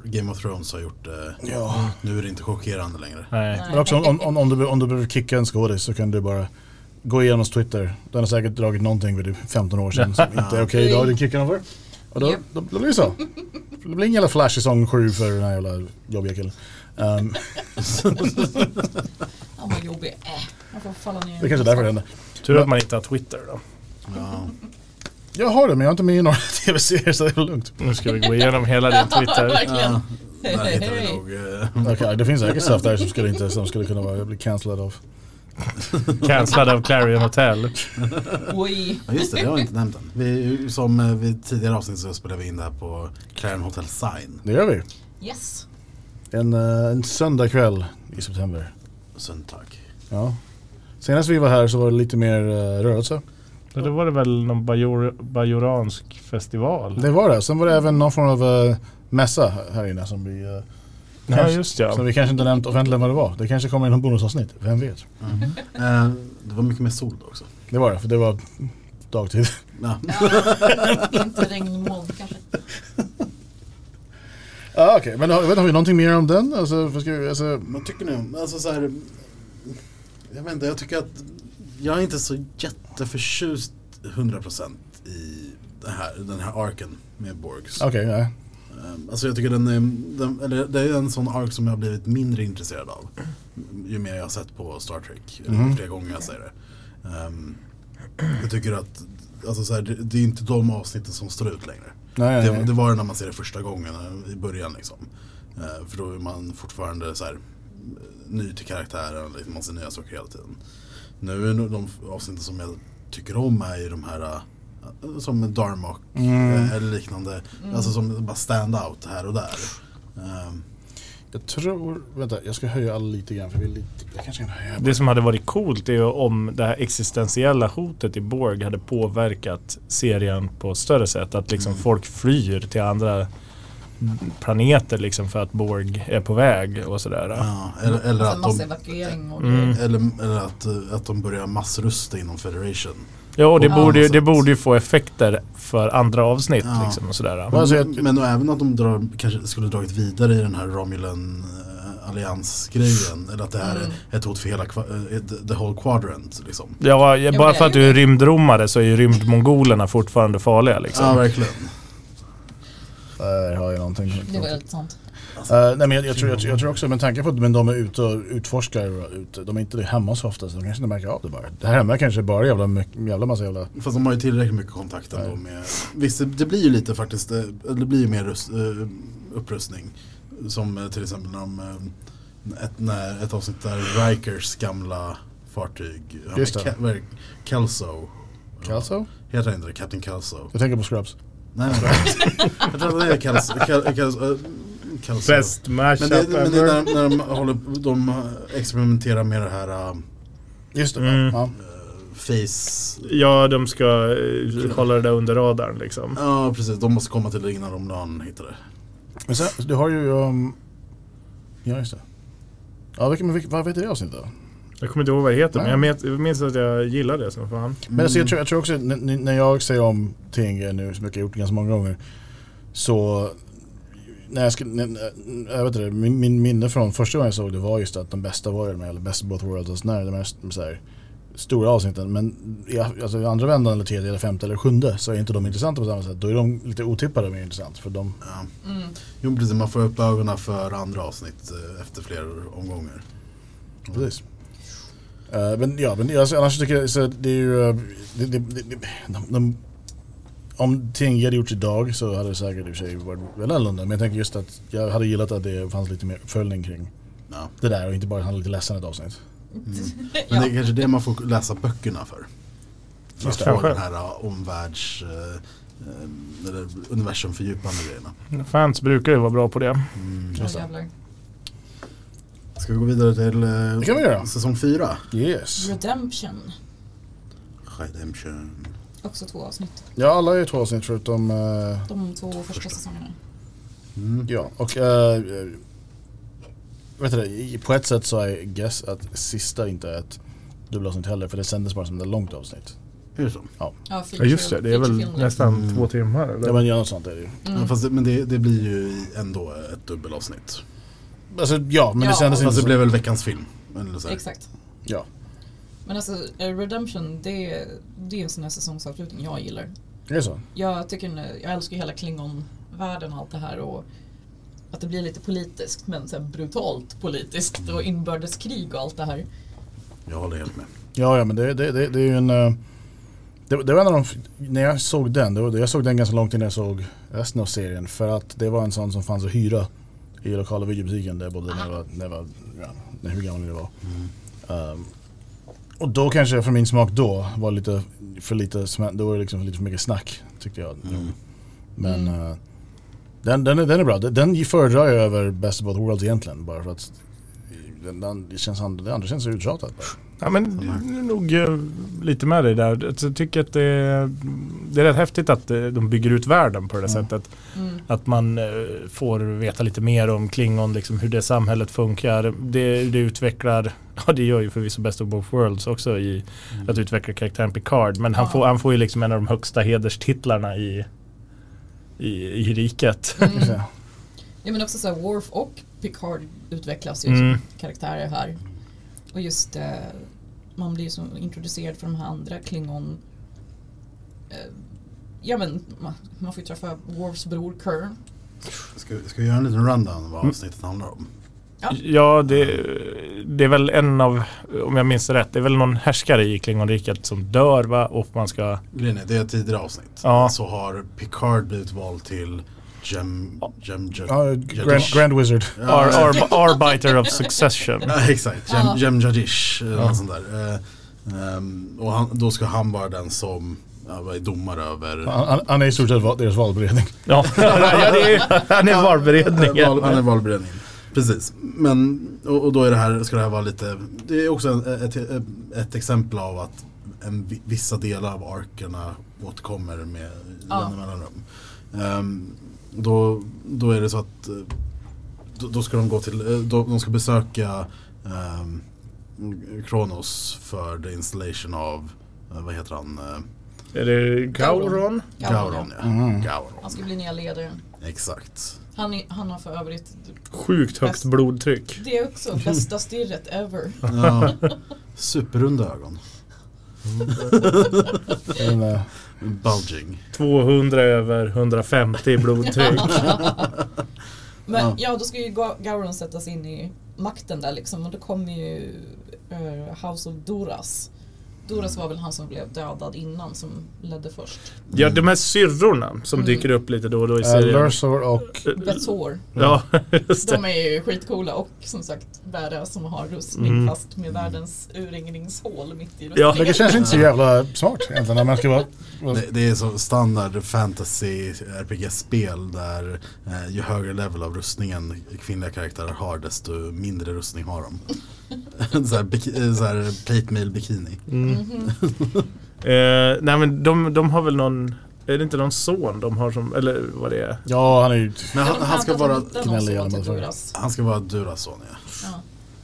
Speaker 5: Game of Thrones har gjort det.
Speaker 2: Ja.
Speaker 5: Nu är det inte chockerande längre.
Speaker 4: Nej.
Speaker 3: Nej.
Speaker 2: Men också om, om, om, du, be- om du behöver kicka en skådis så kan du bara gå igenom hans Twitter. Den har säkert dragit någonting för typ 15 år sedan som inte är okej idag. Den kickar den för. Och då,
Speaker 3: Japp.
Speaker 2: då, då blir det så. Det blir ingen jävla flash i sång 7 för den här jävla jobbiga killen. Ehm,
Speaker 3: Han var jobbig. Äh, han får falla ner.
Speaker 2: det är kanske är därför det händer.
Speaker 4: Tur att man inte har Twitter då.
Speaker 5: Ja.
Speaker 2: Jag har det men jag är inte med i några tv-serier så det är lugnt.
Speaker 4: Nu ska vi gå igenom hela din Twitter.
Speaker 3: Verkligen.
Speaker 5: Där
Speaker 3: Hej,
Speaker 5: hittar vi
Speaker 3: hej.
Speaker 5: nog... eh,
Speaker 2: Okej, det finns säkert stuff där som skulle, inte, som skulle kunna vara, jag blir cancellad av.
Speaker 4: Cancellad av Clarion Hotel.
Speaker 3: Oj.
Speaker 5: Ja just det, det har vi inte nämnt än. Vi, som eh, vid tidigare avsnitt så spelade vi in det här på Claren Hotel Sign.
Speaker 2: Det gör vi.
Speaker 3: Yes.
Speaker 2: En, eh, en söndagkväll i september.
Speaker 5: Sundtag.
Speaker 2: Ja. Senast vi var här så var det lite mer eh, rörelse.
Speaker 4: Ja, Då var det väl någon bajor, bajoransk festival?
Speaker 2: Det var det. Sen var det även någon form av eh, mässa här inne som vi, eh,
Speaker 4: Ja,
Speaker 2: kanske-
Speaker 4: just ja.
Speaker 2: som vi kanske inte nämnt offentligen vad det var. Det kanske kommer i någon bonusavsnitt, vem vet.
Speaker 5: Eh, det var mycket mer sol då också.
Speaker 2: Det var det, för det var dagtid.
Speaker 5: Ja.
Speaker 3: Inte regnmoln kanske.
Speaker 2: ah, Okej, men har, jag vet, inte, har vi någonting mer om den? Alltså, vad ska vi, alltså,
Speaker 5: Vad tycker ni om, alltså så här, jag vet inte, jag tycker att jag är inte så jätteförtjust 100% i det här, den här arken med Borgs.
Speaker 2: Okej, nej.
Speaker 5: Eh, Alltså jag tycker den, är, den eller det är en sån ark som jag har blivit mindre intresserad av. Ju mer jag har sett på Star Trek, eller ju fler gånger jag säger det. Ehm, jag tycker att, alltså så här, det, det är inte de avsnitten som står ut längre.
Speaker 2: Nej, nej,
Speaker 5: Det,
Speaker 2: nej.
Speaker 5: det var det när man ser det första gången eh, i början liksom. Eh, för då är man fortfarande så här, eh, ny till karaktären, liksom, man ser nya saker hela tiden. Nu är nog de avsnitten som jag tycker om är ju de här eh, som Darmok
Speaker 2: Mm.
Speaker 5: eh, eller liknande. Alltså som bara stand out här och där. Eh,
Speaker 2: Jag tror, vänta, jag ska höja all lite grann för vi är lite, jag kanske kan höja.
Speaker 4: Det som hade varit coolt är ju om det här existentiella hotet i Borg hade påverkat serien på ett större sätt. Att liksom
Speaker 5: Mm.
Speaker 4: folk flyr till andra planeter liksom för att Borg är på väg och sådär.
Speaker 5: ja, eller, eller,
Speaker 3: Alltså
Speaker 5: att
Speaker 3: massa
Speaker 5: de,
Speaker 3: evakuering och
Speaker 4: Mm.
Speaker 5: eller, eller att, eh, att de börjar massrusta inom Federation.
Speaker 4: Ja, och det,
Speaker 5: På
Speaker 4: borde, ju-
Speaker 5: annat
Speaker 4: det
Speaker 5: sätt.
Speaker 4: borde ju få effekter för andra avsnitt
Speaker 5: Ja.
Speaker 4: liksom och sådär.
Speaker 2: Alltså, jag,
Speaker 5: Men då även att de drar, kanske skulle dragit vidare i den här Romulan eh, alliansgrejen. Eller att det här är ett hot för hela kva- eh, the- the whole quadrant liksom.
Speaker 4: Ja,
Speaker 3: men
Speaker 4: bara
Speaker 3: det
Speaker 4: för
Speaker 3: är
Speaker 4: att
Speaker 3: ju
Speaker 4: du är rymdromare så är ju rymdmongolerna fortfarande farliga liksom.
Speaker 5: Ja verkligen.
Speaker 2: där har jag någonting.
Speaker 3: Det var väldigt sant.
Speaker 2: Eh, nej men jag, jag, tror, jag, tror- jag tror också, med tanke på att men de är ute och utforskar, ute, de är inte hemma så ofta så de kanske inte märker av det bara. Det här hemma kanske bara är jävla, mycket- jävla massa jävla...
Speaker 5: Fast de har ju tillräckligt mycket kontakt ändå med... Visst, det- det blir ju lite faktiskt, eh, det blir ju mer rust, eh, upprustning. Som eh, till exempel när de, eh, ett, när, ett avsnitt där Rikers gamla fartyg, han
Speaker 2: Just
Speaker 5: med
Speaker 2: det.
Speaker 5: Ke- vad är det? Kelso,
Speaker 2: Kalso?
Speaker 5: heter han inte det? Captain Kelso?
Speaker 2: Jag tänker på Scrubs.
Speaker 5: Nej, nej, nej. jag tror att det är Kelso. Kel- Kelso, eh, Kelso.
Speaker 4: mashup
Speaker 5: Men det, men det är när, när de, håller, de experimenterar med det här eh,
Speaker 2: Just det,
Speaker 4: Mm.
Speaker 2: ja.
Speaker 5: face...
Speaker 4: Ja, de ska eh, hålla det där under radarn liksom.
Speaker 5: Ja, precis. De måste komma till det innan Romulanen hittar det.
Speaker 2: Men sen, du har ju... Um, ja just det. Ja, vilken, men vilken, vad heter det avsnittet då?
Speaker 4: Jag kommer inte ihåg vad det heter,
Speaker 2: Nej.
Speaker 4: men jag minns, jag minns att jag gillade det som fan.
Speaker 2: Men alltså, jag, tror, jag tror också, n- n- när jag säger om TNG nu, som jag har gjort ganska många gånger, så när jag, skulle, n- n- jag vet inte, min, min minne från första gången jag såg det var just att de bästa var ju de här, eller best of both worlds, alltså när de här, så här stora avsnitten. Men i, alltså, i andra vändan, eller tredje, eller femte, eller sjunde, så är inte de intressanta på samma sätt. Då är de lite otippade mer intressant. För de,
Speaker 5: Jo, precis. Man får upp äh, ögonen för andra avsnitt eh, efter flera omgångar.
Speaker 2: precis. Eh, men ja, men alltså, annars tycker jag så det är ju... eh, Det, det, det, det, de, de, om TNG hade gjorts idag så hade det säkert i och för sig varit väl annorlunda. Men jag tänker just att jag hade gillat att det fanns lite mer uppföljning kring
Speaker 5: Ja.
Speaker 2: det där och inte bara att han är lite ledsen ett avsnitt.
Speaker 5: Men
Speaker 3: Ja.
Speaker 5: det är kanske det man får läsa böckerna för. För
Speaker 2: Just
Speaker 5: att
Speaker 2: det.
Speaker 5: få den här ja, omvärlds... eh, eh, Eller universumfördjupande grejerna.
Speaker 4: Fans brukar ju vara bra på det.
Speaker 3: Åh, jävlar.
Speaker 5: Ska vi gå vidare till eh,
Speaker 2: Det kan vi göra.
Speaker 5: säsong fyra?
Speaker 2: Yes.
Speaker 3: Redemption.
Speaker 5: Redemption.
Speaker 3: Också två avsnitt.
Speaker 2: Ja, alla är ju två avsnitt förutom... eh,
Speaker 3: De två första säsongerna.
Speaker 5: Mm.
Speaker 2: ja, och... eh, vet du det, i- på ett sätt så I guess att sista inte är ett dubbelavsnitt heller för det sändes bara som ett långt avsnitt.
Speaker 5: Är det så?
Speaker 3: Ja, feature,
Speaker 4: Ja just det, det är väl
Speaker 3: featurefilmer.
Speaker 4: nästan
Speaker 5: Mm.
Speaker 4: två timmar
Speaker 2: Ja
Speaker 4: eller?
Speaker 2: men ja, något sånt är det ju.
Speaker 5: Ja, fast det, men det, det blir ju ändå ett dubbelavsnitt.
Speaker 2: Alltså ja, men det
Speaker 3: Ja.
Speaker 2: sändes inte
Speaker 5: Fast det
Speaker 2: som...
Speaker 5: blev väl veckans film? Eller så här.
Speaker 3: Exakt.
Speaker 2: Ja.
Speaker 3: Men alltså eh, Redemption, det är, det är en sån här säsongsavslutning jag gillar.
Speaker 2: Är det så?
Speaker 3: Jag, tycker, den- jag älskar ju hela Klingon-världen och allt det här och att det blir lite politiskt men så här brutalt politiskt och inbördeskrig och allt det här.
Speaker 5: Jag håller helt med.
Speaker 2: Ja, ja men det, det, det, det är ju en... eh, Det, det var en av de, f- när jag såg den, det var, jag såg den ganska långt innan jag såg resten av serien för att det var en sån som fanns att hyra i lokala videobutiken där jag bodde när jag var, när jag var ja, när hur gammal jag var. Ehm, och då kanske jag för min smak då var lite för lite, smä- då var det liksom för lite för mycket snack tyckte jag. Men eh, den, den, är, den är bra, den, den föredrar jag över Best of Both Worlds egentligen bara för att den, den, det, känns, and- det andra känns så uttjatat. bara.
Speaker 4: Ja men det är nog eh, lite med dig där. Alltså, Jag tycker att det är, det är rätt häftigt att eh, de bygger ut världen på det sättet. Att man eh, får veta lite mer om Klingon, liksom hur det samhället funkar. Det, det utvecklar, ja det gör ju förvisso Best of Both Worlds också i att utveckla karaktären Picard. Men han,
Speaker 3: Ja.
Speaker 4: får, han får ju liksom en av de högsta hederstitlarna i, i, i riket.
Speaker 2: Så.
Speaker 3: Mm. Ja men också så här, Worf och Picard utvecklas ju
Speaker 4: Mm.
Speaker 3: som karaktärer här. Och just eh, man blir ju så introducerad för de här andra Klingon eh, Ja men man, man får ju träffa Worfs bror Kern.
Speaker 5: Ska, ska vi göra en liten rundown
Speaker 2: Mm.
Speaker 5: av vad avsnittet handlar om?
Speaker 4: Ja, det, det är väl en av, om jag minns rätt, det är väl någon härskare i Klingonriket som dör va? Och man ska...
Speaker 5: Grejen är, det är ett tidigare avsnit.
Speaker 4: Ja.
Speaker 5: Så har Picard blivit vald till Gem... Gem... Gem...
Speaker 2: Ja,
Speaker 5: Jadish.
Speaker 2: Grand, Grand Wizard.
Speaker 4: Ar, ar, arbiter of succession.
Speaker 5: Ja, exakt. Gem,
Speaker 3: Ja.
Speaker 5: Gem Jadish. Eller något sånt där. Eh, ehm, och han, då ska han vara den som ja, vad är domare över...
Speaker 2: Han, han, han är i stort sett val- deras valberedning.
Speaker 4: Ja, ja det är, han
Speaker 5: Eh, val- Han
Speaker 4: är
Speaker 5: är
Speaker 4: valberedningen.
Speaker 5: valberedningen. Precis. Men, och, och då är det här, ska det här vara lite, det är också en, ett, ett, ett exempel av att en, vi- vissa delar av arkerna återkommer med
Speaker 3: Ja.
Speaker 5: jämna mellanrum. Ehm, då, då är det så att eh, då, då ska de gå till, eh, då, de ska besöka ehm, Kronos för the installation av, eh, vad heter han, eh,
Speaker 4: Är det Gauron?
Speaker 5: Gauron. Ja.
Speaker 3: Mm. Han
Speaker 5: Gauron.
Speaker 3: ska bli nya ledaren.
Speaker 5: Exakt.
Speaker 3: Han, är, han har för övrigt,
Speaker 4: Sjukt högt blodtryck.
Speaker 3: det är också bästa stirret ever.
Speaker 5: Ja. Superrunda ögon.
Speaker 2: Men, eh,
Speaker 5: Bulging.
Speaker 4: 200 över 150 i blodtryck.
Speaker 3: Men
Speaker 5: Ja.
Speaker 3: ja, då ska ju Ga- Gauron sättas in i makten där liksom och då kommer ju eh, House of Doras. Doras var väl han som blev dödad innan som ledde först.
Speaker 4: Ja, de här syrrorna som dyker upp lite då och då i
Speaker 2: eh,
Speaker 4: serien.
Speaker 2: Lursor och...
Speaker 3: Betor.
Speaker 4: Ja, just det.
Speaker 3: De är ju skitcoola och som sagt bära som har rustning
Speaker 5: Mm.
Speaker 3: fast med världens urringningshål mitt i
Speaker 4: Ja.
Speaker 3: rustningen.
Speaker 2: Det känns inte så jävla smart egentligen när man ska vara... vara
Speaker 5: Det, det är så standard fantasy RPG-spel där eh, ju högre level av rustningen kvinnliga karaktärer har desto mindre rustning har de. så här, biki- eh, så här plate mail bikini.
Speaker 4: Eh, nej men de, de har väl någon, är det inte någon son de har som, eller vad det är?
Speaker 2: ja, han är ju...
Speaker 5: Men han,
Speaker 3: De
Speaker 5: han ska
Speaker 3: hävdar att
Speaker 5: vara
Speaker 3: de hittade
Speaker 2: knälla
Speaker 3: någon
Speaker 2: igenom
Speaker 3: som var till
Speaker 2: alla
Speaker 3: Doras.
Speaker 5: han ska vara Durason ja.
Speaker 3: Ja.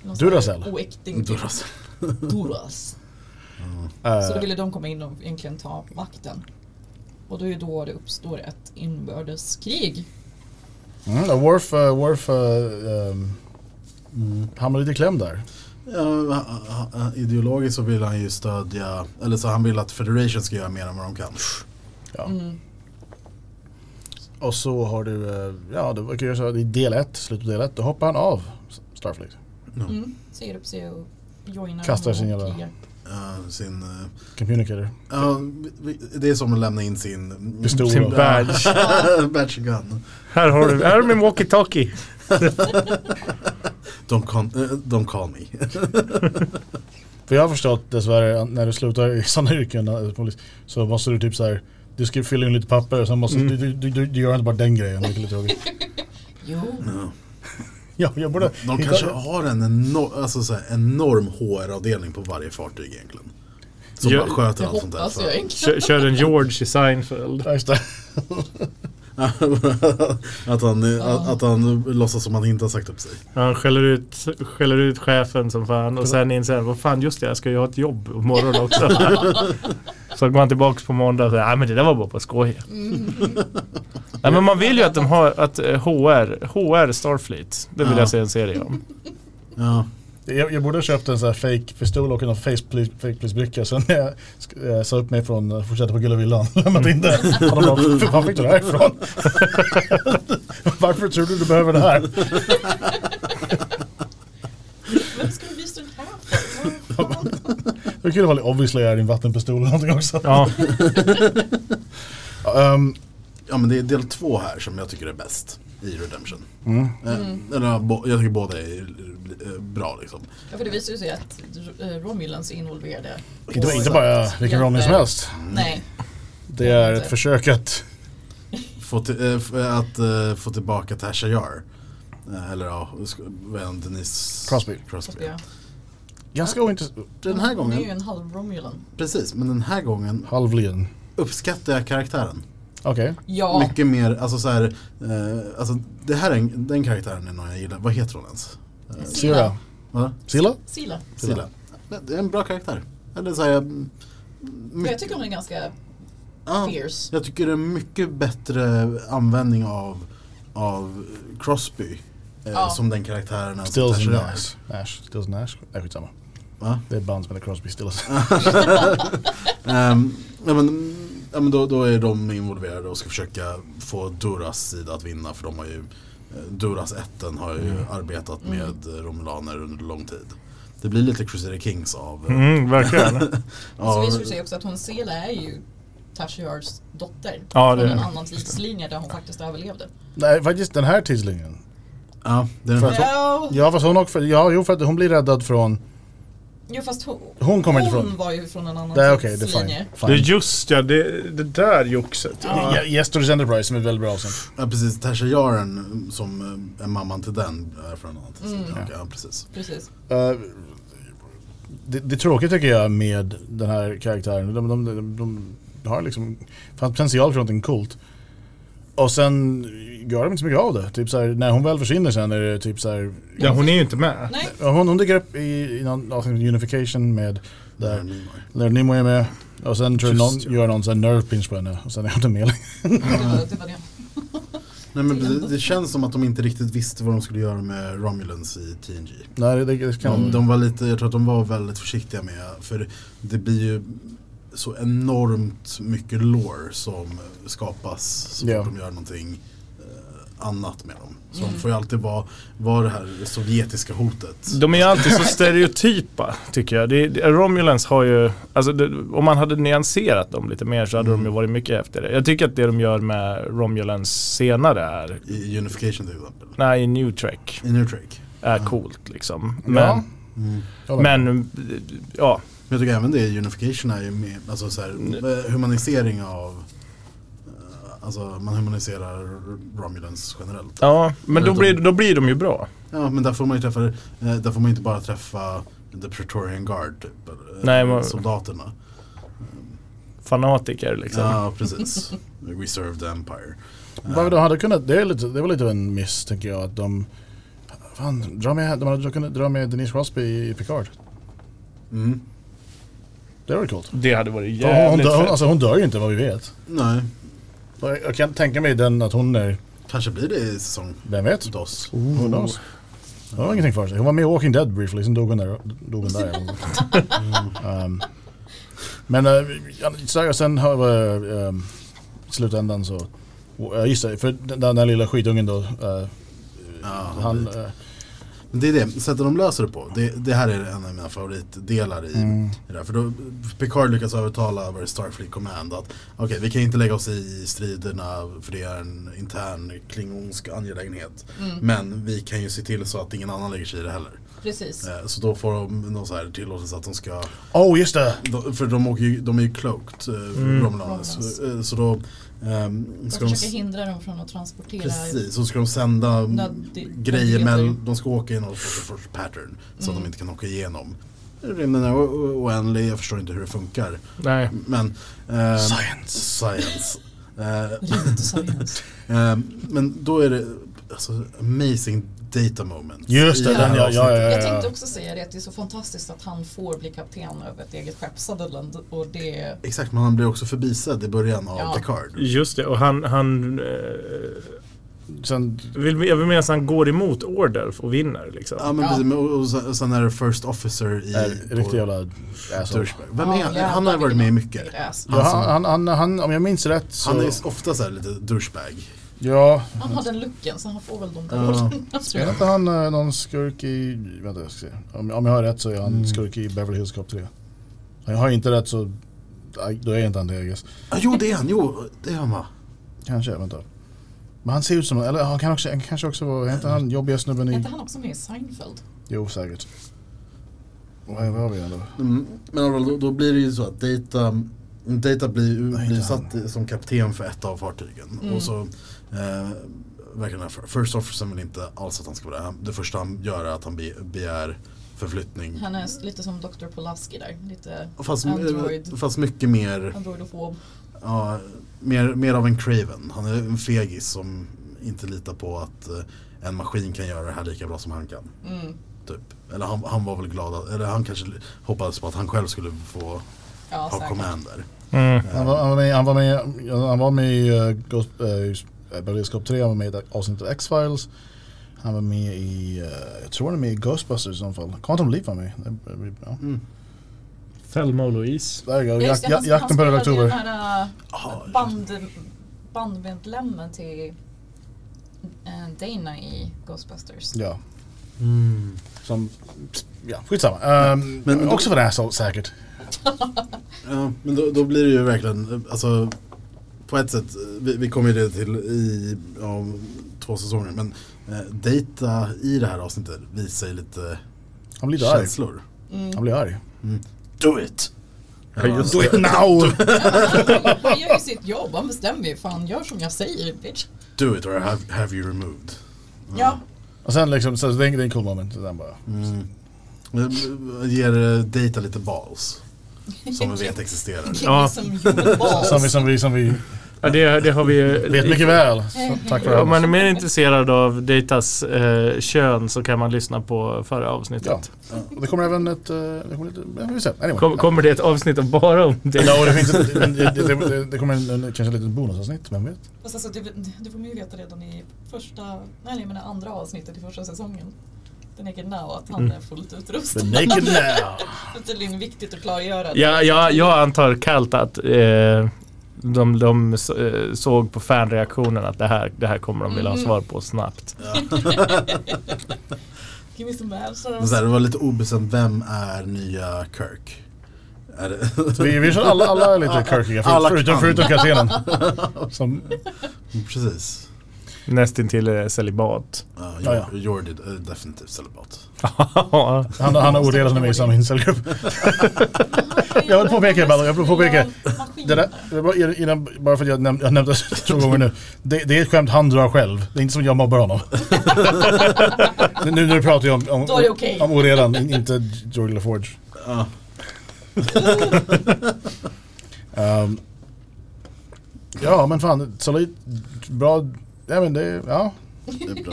Speaker 3: Någon
Speaker 2: Duracell.
Speaker 3: sån här Oäkting typ.
Speaker 5: Durason.
Speaker 3: Doras. Så då
Speaker 2: Eh,
Speaker 3: ville de komma in och egentligen ta makten. Och då är ju då det uppstår ett inbördeskrig.
Speaker 2: mm, ja, Worf... eh, Worf eh, ehm, han var lite klämd där.
Speaker 5: Ja, ha- ha- ha- ideologiskt så vill han ju stödja, eller så han vill att Federation ska göra mer än vad de kan.
Speaker 2: Ja. Och så har du... eh, ja, det verkar ju så att i del 1, slutet på del 1, då hoppar han av Starfleet.
Speaker 3: Mm. Säger upp sig och joinar
Speaker 2: Kastar
Speaker 3: dem
Speaker 2: sin
Speaker 3: och
Speaker 2: jävla-
Speaker 3: krigar.
Speaker 5: eh, sin... eh,
Speaker 2: Communicator.
Speaker 5: ja, vi- det är som att lämna in sin...
Speaker 2: Pistol.
Speaker 4: Sin badge.
Speaker 5: Batch gun.
Speaker 4: Här har du, här är min walkie-talkie.
Speaker 5: Don't, con- eh, don't call me.
Speaker 2: För jag har förstått dessvärre att när du slutar i sådana yrken eh, polis, så måste du typ så här. Du ska fylla in lite papper och sen måste du, du, du, du, du gör inte bara den grejen. vilket är lite tråkigt.
Speaker 3: Jo,
Speaker 5: Ja.
Speaker 2: Ja, jag borde
Speaker 5: De
Speaker 2: hitta-
Speaker 5: kanske har en enorm, alltså så här, enorm HR-avdelning på varje fartyg egentligen. Som
Speaker 4: Ja,
Speaker 5: bara sköter
Speaker 3: det
Speaker 5: allt sånt där.
Speaker 3: hoppas jag inte.
Speaker 4: Kör, kör en George i Seinfeld.
Speaker 2: Ja, just det.
Speaker 5: att, han, eh, att, att han låtsas som han inte har sagt upp sig.
Speaker 4: Han skäller ut, skäller ut chefen som fan och sen inser han, vad fan just det, jag ska ju ha ett jobb imorgon också. så går han tillbaks på måndag och säger, nej men det där var bara på skoj. Nej men man vill ju att de har, att eh, HR, HR Starfleet, det vill
Speaker 5: Ja.
Speaker 4: jag se en serie om.
Speaker 5: Ja.
Speaker 2: Jag, jag borde ha köpt en sån här fake pistol och en face police- fake police bricka Sen när jag sk- eh, sa upp mig från eh, fortsätta på Gullavillan och lämnat in det. Och de bara, "Fy fan fick du det här ifrån? Varför tror du du behöver det här?
Speaker 3: vem ska vi visa den här för? Vad fan?
Speaker 2: Det är kul ifall det obviously är din vattenpistol eller någonting också.
Speaker 4: Ja,
Speaker 2: Ehm,
Speaker 5: ja, men det är del två här som jag tycker är bäst i Redemption. Eh,
Speaker 3: Mm.
Speaker 5: Eller, ja, bo- jag tycker båda är eh, bra liksom.
Speaker 3: Ja, för det visar ju sig att eh, Romulans är involverade.
Speaker 5: Mm.
Speaker 2: det var inte bara vilken Ronny som helst.
Speaker 3: Nej,
Speaker 2: Det är ett försök att
Speaker 5: Få till, eh, f- att eh, få tillbaka Tasha Yar. Eh, eller ja, sk- vad är hon? Denise
Speaker 2: Crosby.
Speaker 3: fast
Speaker 5: Crosby.
Speaker 3: det-
Speaker 2: ganska ointressant.
Speaker 5: Den här
Speaker 3: Hon är ju
Speaker 5: gången,
Speaker 3: en halv Romulan.
Speaker 5: precis, men den här gången
Speaker 2: Halvligen.
Speaker 5: uppskattar jag karaktären.
Speaker 2: Okej.
Speaker 3: Ja,
Speaker 5: Mycket mer, alltså så här, eh, alltså det här är en, den karaktären är någon jag gillar. Vad heter hon ens?
Speaker 2: Sira.
Speaker 5: Va?
Speaker 2: Silla?
Speaker 3: Sila.
Speaker 5: Silla. Det är en bra karaktär. Eller så här, mm,
Speaker 3: För jag tycker hon är ganska
Speaker 5: ja,
Speaker 3: fierce.
Speaker 5: jag tycker det är mycket bättre användning av, av Crosby eh,
Speaker 3: Ja.
Speaker 5: som den karaktären än som
Speaker 2: Stills and
Speaker 5: Tasha Yar.
Speaker 2: Nash. Nash. Stills and Nash. Nej skitsamma.
Speaker 5: Va?
Speaker 2: Det är ett band som heter Crosby Stills.
Speaker 5: Ehm, ja, men, ja, men då, då är de involverade och ska försöka få Duras sida att vinna för de har ju eh, Duras ätten har ju arbetat med eh, romulaner under lång tid. Det blir lite Crusader Kings av... eh,
Speaker 4: mm, verkligen.
Speaker 3: Så
Speaker 5: av
Speaker 3: visar det sig också att hon Sela är ju Tashiards dotter.
Speaker 4: Ja, det
Speaker 3: från
Speaker 4: är
Speaker 3: en
Speaker 4: det.
Speaker 3: annan tidslinje där hon faktiskt överlevde.
Speaker 2: Nej faktiskt den här tidslinjen.
Speaker 5: ja, det är
Speaker 2: För-
Speaker 5: den,
Speaker 3: Ja,
Speaker 2: Ja fast hon också, ja jo för att hon blir räddad från,
Speaker 3: jo, fast hon,
Speaker 2: hon kommer inte
Speaker 3: Hon
Speaker 2: från.
Speaker 3: var ju från en annan
Speaker 2: Nej okej, det är
Speaker 3: tidslinje.
Speaker 2: fine.
Speaker 4: Det är
Speaker 2: fine.
Speaker 4: just ja, det, det där joxet.
Speaker 2: Ja, Gestures Enterprise som är ett väldigt bra avsnitt.
Speaker 5: ja, precis. Tasha Yaren som eh, är mamman till den är från en annan tidslinje. Okej, ja, precis.
Speaker 3: Precis.
Speaker 2: Eh, det, det är tråkigt tycker jag med den här karaktären. De, de, de, de har liksom fanns potential för någonting coolt. Och sen gör de inte så mycket av det. Typ så här, när hon väl försvinner sen är det typ så här,
Speaker 4: Ja, hon är ju inte med.
Speaker 3: Nej,
Speaker 2: Ja, Hon, hon dyker upp i, i någon avsnitt av Unification med
Speaker 5: Där.
Speaker 2: där Leonard Nimoy är med. Och sen tror jag någon
Speaker 4: Just ja.
Speaker 2: gör någon sån här nerve pinch på henne och sen är hon inte med längre.
Speaker 3: det var det. Var det.
Speaker 5: Nej, men det, det känns som att de inte riktigt visste vad de skulle göra med Romulans i TNG.
Speaker 2: Nej, det, det kan
Speaker 5: De, de var lite, jag tror att de var väldigt försiktiga med, för det blir ju så enormt mycket lore som skapas så
Speaker 2: Ja.
Speaker 5: fort de gör någonting eh, annat med dem. Så de får ju alltid vara, vara det här sovjetiska hotet.
Speaker 4: De är ju alltid så stereotypa tycker jag. Det, det, Romulans har ju, alltså det, om man hade nyanserat dem lite mer så hade de ju varit mycket efter det. Jag tycker att det de gör med Romulans senare är,
Speaker 5: I Unification till exempel.
Speaker 4: nej i New Trek,
Speaker 5: I New Trek.
Speaker 4: är coolt liksom. Men,
Speaker 2: Ja. Kolla.
Speaker 4: men ja,
Speaker 5: Men jag tycker även det i Unification är ju med, alltså så här, eh, humanisering av eh, Alltså man humaniserar Romulans generellt.
Speaker 4: ja, men då
Speaker 5: De-
Speaker 4: blir, då blir de ju bra.
Speaker 5: Ja men där får man ju träffa, eh, där får man inte bara träffa The Pretorian Guard typ, eller,
Speaker 4: Nej,
Speaker 5: eller
Speaker 4: man-
Speaker 5: soldaterna.
Speaker 4: Fanatiker liksom.
Speaker 5: Ja precis. We serve the Empire.
Speaker 2: Vad de hade kunnat, det, är lite, det var lite av en miss tänker jag att de... Fan, dra med, de hade kunnat dra med Denise Crosby i Picard.
Speaker 5: Mm.
Speaker 2: Det var coolt.
Speaker 4: Det hade varit
Speaker 2: Hon, hon,
Speaker 4: jävligt
Speaker 2: dör, hon,
Speaker 4: fett.
Speaker 2: alltså, hon dör ju inte vad vi vet.
Speaker 5: Nej,
Speaker 2: Och Jag, jag kan tänka mig den att hon är,
Speaker 5: kanske blir det i säsong
Speaker 2: vem vet?
Speaker 5: DOS.
Speaker 2: Who knows? Hon har ingenting för sig. Hon var med i Walking Dead briefly, sen dog hon där. Dog hon där. um, men eh, ja, så här, sen har vi um, i slutändan så... Uh, just det, för den, den där lilla skitungen då. eh,
Speaker 5: Ja,
Speaker 2: han, eh,
Speaker 5: Men det är det, sättet de löser det på. Det, det här är en av mina favoritdelar i, i det här. För då Picard lyckas övertala över Starfleet Command att okej, vi kan inte lägga oss i striderna för det är en intern klingonsk angelägenhet. Men vi kan ju se till så att ingen annan lägger sig i det heller.
Speaker 3: Precis.
Speaker 5: Eh, Så då får de någon så här tillåtelse att de ska
Speaker 1: Oh, just det!
Speaker 5: de, för de, åker ju, de är ju cloaked, eh,
Speaker 2: Mm.
Speaker 5: Romulans.
Speaker 3: Romulans.
Speaker 5: Så, eh, så då ehm,
Speaker 3: De
Speaker 5: ska de,
Speaker 3: försöker hindra dem från att transportera.
Speaker 5: precis, så ska de sända mm,
Speaker 3: Nöd-
Speaker 5: grejer
Speaker 3: nödvändigheter.
Speaker 5: men de ska åka i någon sorts sorts pattern så
Speaker 3: Mm.
Speaker 5: att de inte kan åka igenom. Rymden är o- o- oändlig, jag förstår inte hur det funkar.
Speaker 4: Nej.
Speaker 5: Men, ehm,
Speaker 1: Science.
Speaker 5: Science. Eh,
Speaker 3: Rent science.
Speaker 5: ehm, men då är det alltså, amazing data moments.
Speaker 2: Just det,
Speaker 5: i
Speaker 2: den
Speaker 5: här
Speaker 2: ja, ja, ja,
Speaker 3: Jag
Speaker 2: ja,
Speaker 3: tänkte
Speaker 2: ja.
Speaker 3: också säga det att det är så fantastiskt att han får bli kapten över ett eget skepp Sutherland och det
Speaker 5: Exakt, men han blir också förbisedd i början av
Speaker 3: Ja.
Speaker 5: Picard.
Speaker 4: Just det, och han... han eh,
Speaker 2: Sen,
Speaker 4: vill, jag vill minnas att han går emot Order och vinner liksom.
Speaker 5: Ja men
Speaker 3: Ja.
Speaker 5: precis, men och, och sen- och sen är det First Officer i...
Speaker 2: är
Speaker 5: på-
Speaker 2: eh, riktig jävla alltså- asshole.
Speaker 5: Dursberg. Vem
Speaker 3: Ja,
Speaker 5: är han?
Speaker 3: jävlar,
Speaker 5: Han har varit
Speaker 3: vilken-
Speaker 5: med i mycket.
Speaker 3: vilket ass.
Speaker 2: Ja, han, han, han, han, om jag minns rätt så...
Speaker 5: Han är ju ofta så här lite douchebag.
Speaker 2: Ja,
Speaker 3: Han har den looken så han får väl de där
Speaker 5: Ja.
Speaker 3: rollerna tror
Speaker 2: är
Speaker 3: jag.
Speaker 2: inte han eh, någon skurk i... Vänta, jag ska se. Om, om jag har rätt så är han skurk i Beverly Hills Cop 3. Om jag har inte rätt så... nej, Då är inte han det, jag guess.
Speaker 5: Ah, jo det är han, jo det är han va?
Speaker 2: Kanske, vänta. Men han ser ut som, eller han kan också, han kanske också vara, heter han jobbiga snubben
Speaker 3: Är
Speaker 2: i...
Speaker 3: inte han också med i Seinfeld?
Speaker 2: Jo, säkert. Vad vad har vi ändå?
Speaker 5: Mm, men i alla fall, då, då blir det ju så att Data, Data blir, blir
Speaker 2: inte
Speaker 5: satt i- som kapten för ett av fartygen.
Speaker 3: Mm.
Speaker 5: Och så eh, verkar den här fir- First Officer vill inte alls att han ska vara där. Han- Det första han gör är att han be, begär förflyttning.
Speaker 3: Han är lite som Dr. Polaski där. Lite
Speaker 5: Fast, eh,
Speaker 3: Android.
Speaker 5: fast mycket mer
Speaker 3: androidofob.
Speaker 5: Ja, mer, mer av en craven. Han är en fegis som inte litar på att eh, en maskin kan göra det här lika bra som han kan.
Speaker 3: Mm.
Speaker 5: Typ. Eller han, han var väl glad, att, eller han kanske hoppades på att han själv skulle få
Speaker 3: Ja,
Speaker 5: ha
Speaker 3: säkert.
Speaker 5: command där.
Speaker 4: Mm.
Speaker 2: Han var, han var med, han var med, han var med i eh, Ghost, eh, Beverly Hills Cop 3, han var med i ett avsnitt av X-Files. Han var med i, eh, jag tror han är med i Ghostbusters i så fall. Quantum Leap var med. Det blir bra.
Speaker 4: Thelma och Louise.
Speaker 2: Där går
Speaker 3: Ja, just
Speaker 2: jak,
Speaker 3: det,
Speaker 2: jak,
Speaker 3: han-
Speaker 2: jakten på
Speaker 3: han
Speaker 2: Röda
Speaker 3: spelade ju
Speaker 2: Oktober.
Speaker 3: den här
Speaker 5: Ja,
Speaker 3: äh, band, bandmedlemmen till äh, Dana i Ghostbusters.
Speaker 2: Ja. Som, ja, skitsamma. Um,
Speaker 5: Men- men
Speaker 2: men
Speaker 5: då-
Speaker 2: också var det asshole säkert.
Speaker 5: Ja, men då, då blir det ju verkligen, eh, alltså på ett sätt, eh, vi, vi kommer ju det till i ja, två säsonger, men eh, Data i det här avsnittet visar ju lite
Speaker 2: Han blir lite arg.
Speaker 5: känslor.
Speaker 2: Han blir arg.
Speaker 5: Do it!
Speaker 4: Ja, just
Speaker 2: Do it now!
Speaker 3: Han gör ju sitt jobb, han bestämmer ju. Fan, gör som jag säger bitch.
Speaker 5: Do it or have, have you removed.
Speaker 3: Ja,
Speaker 2: Och sen liksom, så det är det är en cool moment. Så Sen bara,
Speaker 5: Eh, Ger eh, Data lite balls. Som vi vet existerar.
Speaker 3: give
Speaker 4: Ja.
Speaker 3: me some human balls.
Speaker 2: Som vi, som vi, som vi
Speaker 4: Ja, det, det har vi
Speaker 2: vet mycket väl. Så, tack för
Speaker 4: Om
Speaker 2: det.
Speaker 4: man är mer intresserad av Datas eh, kön så kan man lyssna på förra avsnittet.
Speaker 2: Ja. Och det kommer även ett... eh, Det kommer lite... Ja, vi får se. Anyway.
Speaker 4: Kom, kommer det ett avsnitt om bara om det?
Speaker 2: Ja, och det, finns ett, det, det, det, det kommer en, en, kanske ett litet bonusavsnitt, vem vet?
Speaker 3: Fast alltså, det, det får man ju veta redan i första, nej jag menar andra avsnittet i första säsongen. The Naked Now, att han
Speaker 2: Mm.
Speaker 3: är fullt utrustad.
Speaker 2: The Naked Now!
Speaker 3: Det är tydligen viktigt att klargöra. det.
Speaker 4: Ja, ja, jag antar kallt att eh, de, de s- eh, såg på fanreaktionen att det här, det här kommer de vilja ha svar på snabbt.
Speaker 3: Give me some abs.
Speaker 5: Men så här, det var lite obestämt, vem är nya Kirk? Är det
Speaker 2: Vi, vi kör alla, alla är lite kirkiga, för,
Speaker 5: Alla
Speaker 2: förutom,
Speaker 5: kan.
Speaker 2: förutom kaptenen. Som,
Speaker 5: Precis.
Speaker 4: Nästintill eh, celibat.
Speaker 5: Ja,
Speaker 2: Ja, ja.
Speaker 5: Jor- Jordi är definitivt celibat.
Speaker 2: han, han har ordelat med mig i samma incelgrupp. jag vill påpeka, Ballo, jag vill påpeka. Det där, det var er- innan, bara för att jag, näm, jag nämnde det två gånger nu. Det, det är ett skämt han drar själv. Det är inte som jag mobbar honom. nu, nu när du pratar jag om, om,
Speaker 3: Då är det okej.
Speaker 2: om oredan, in- inte George LaForge.
Speaker 5: Ja.
Speaker 2: Ehm, ja men fan, solid, bra, ja men det, ja.
Speaker 5: Det är bra.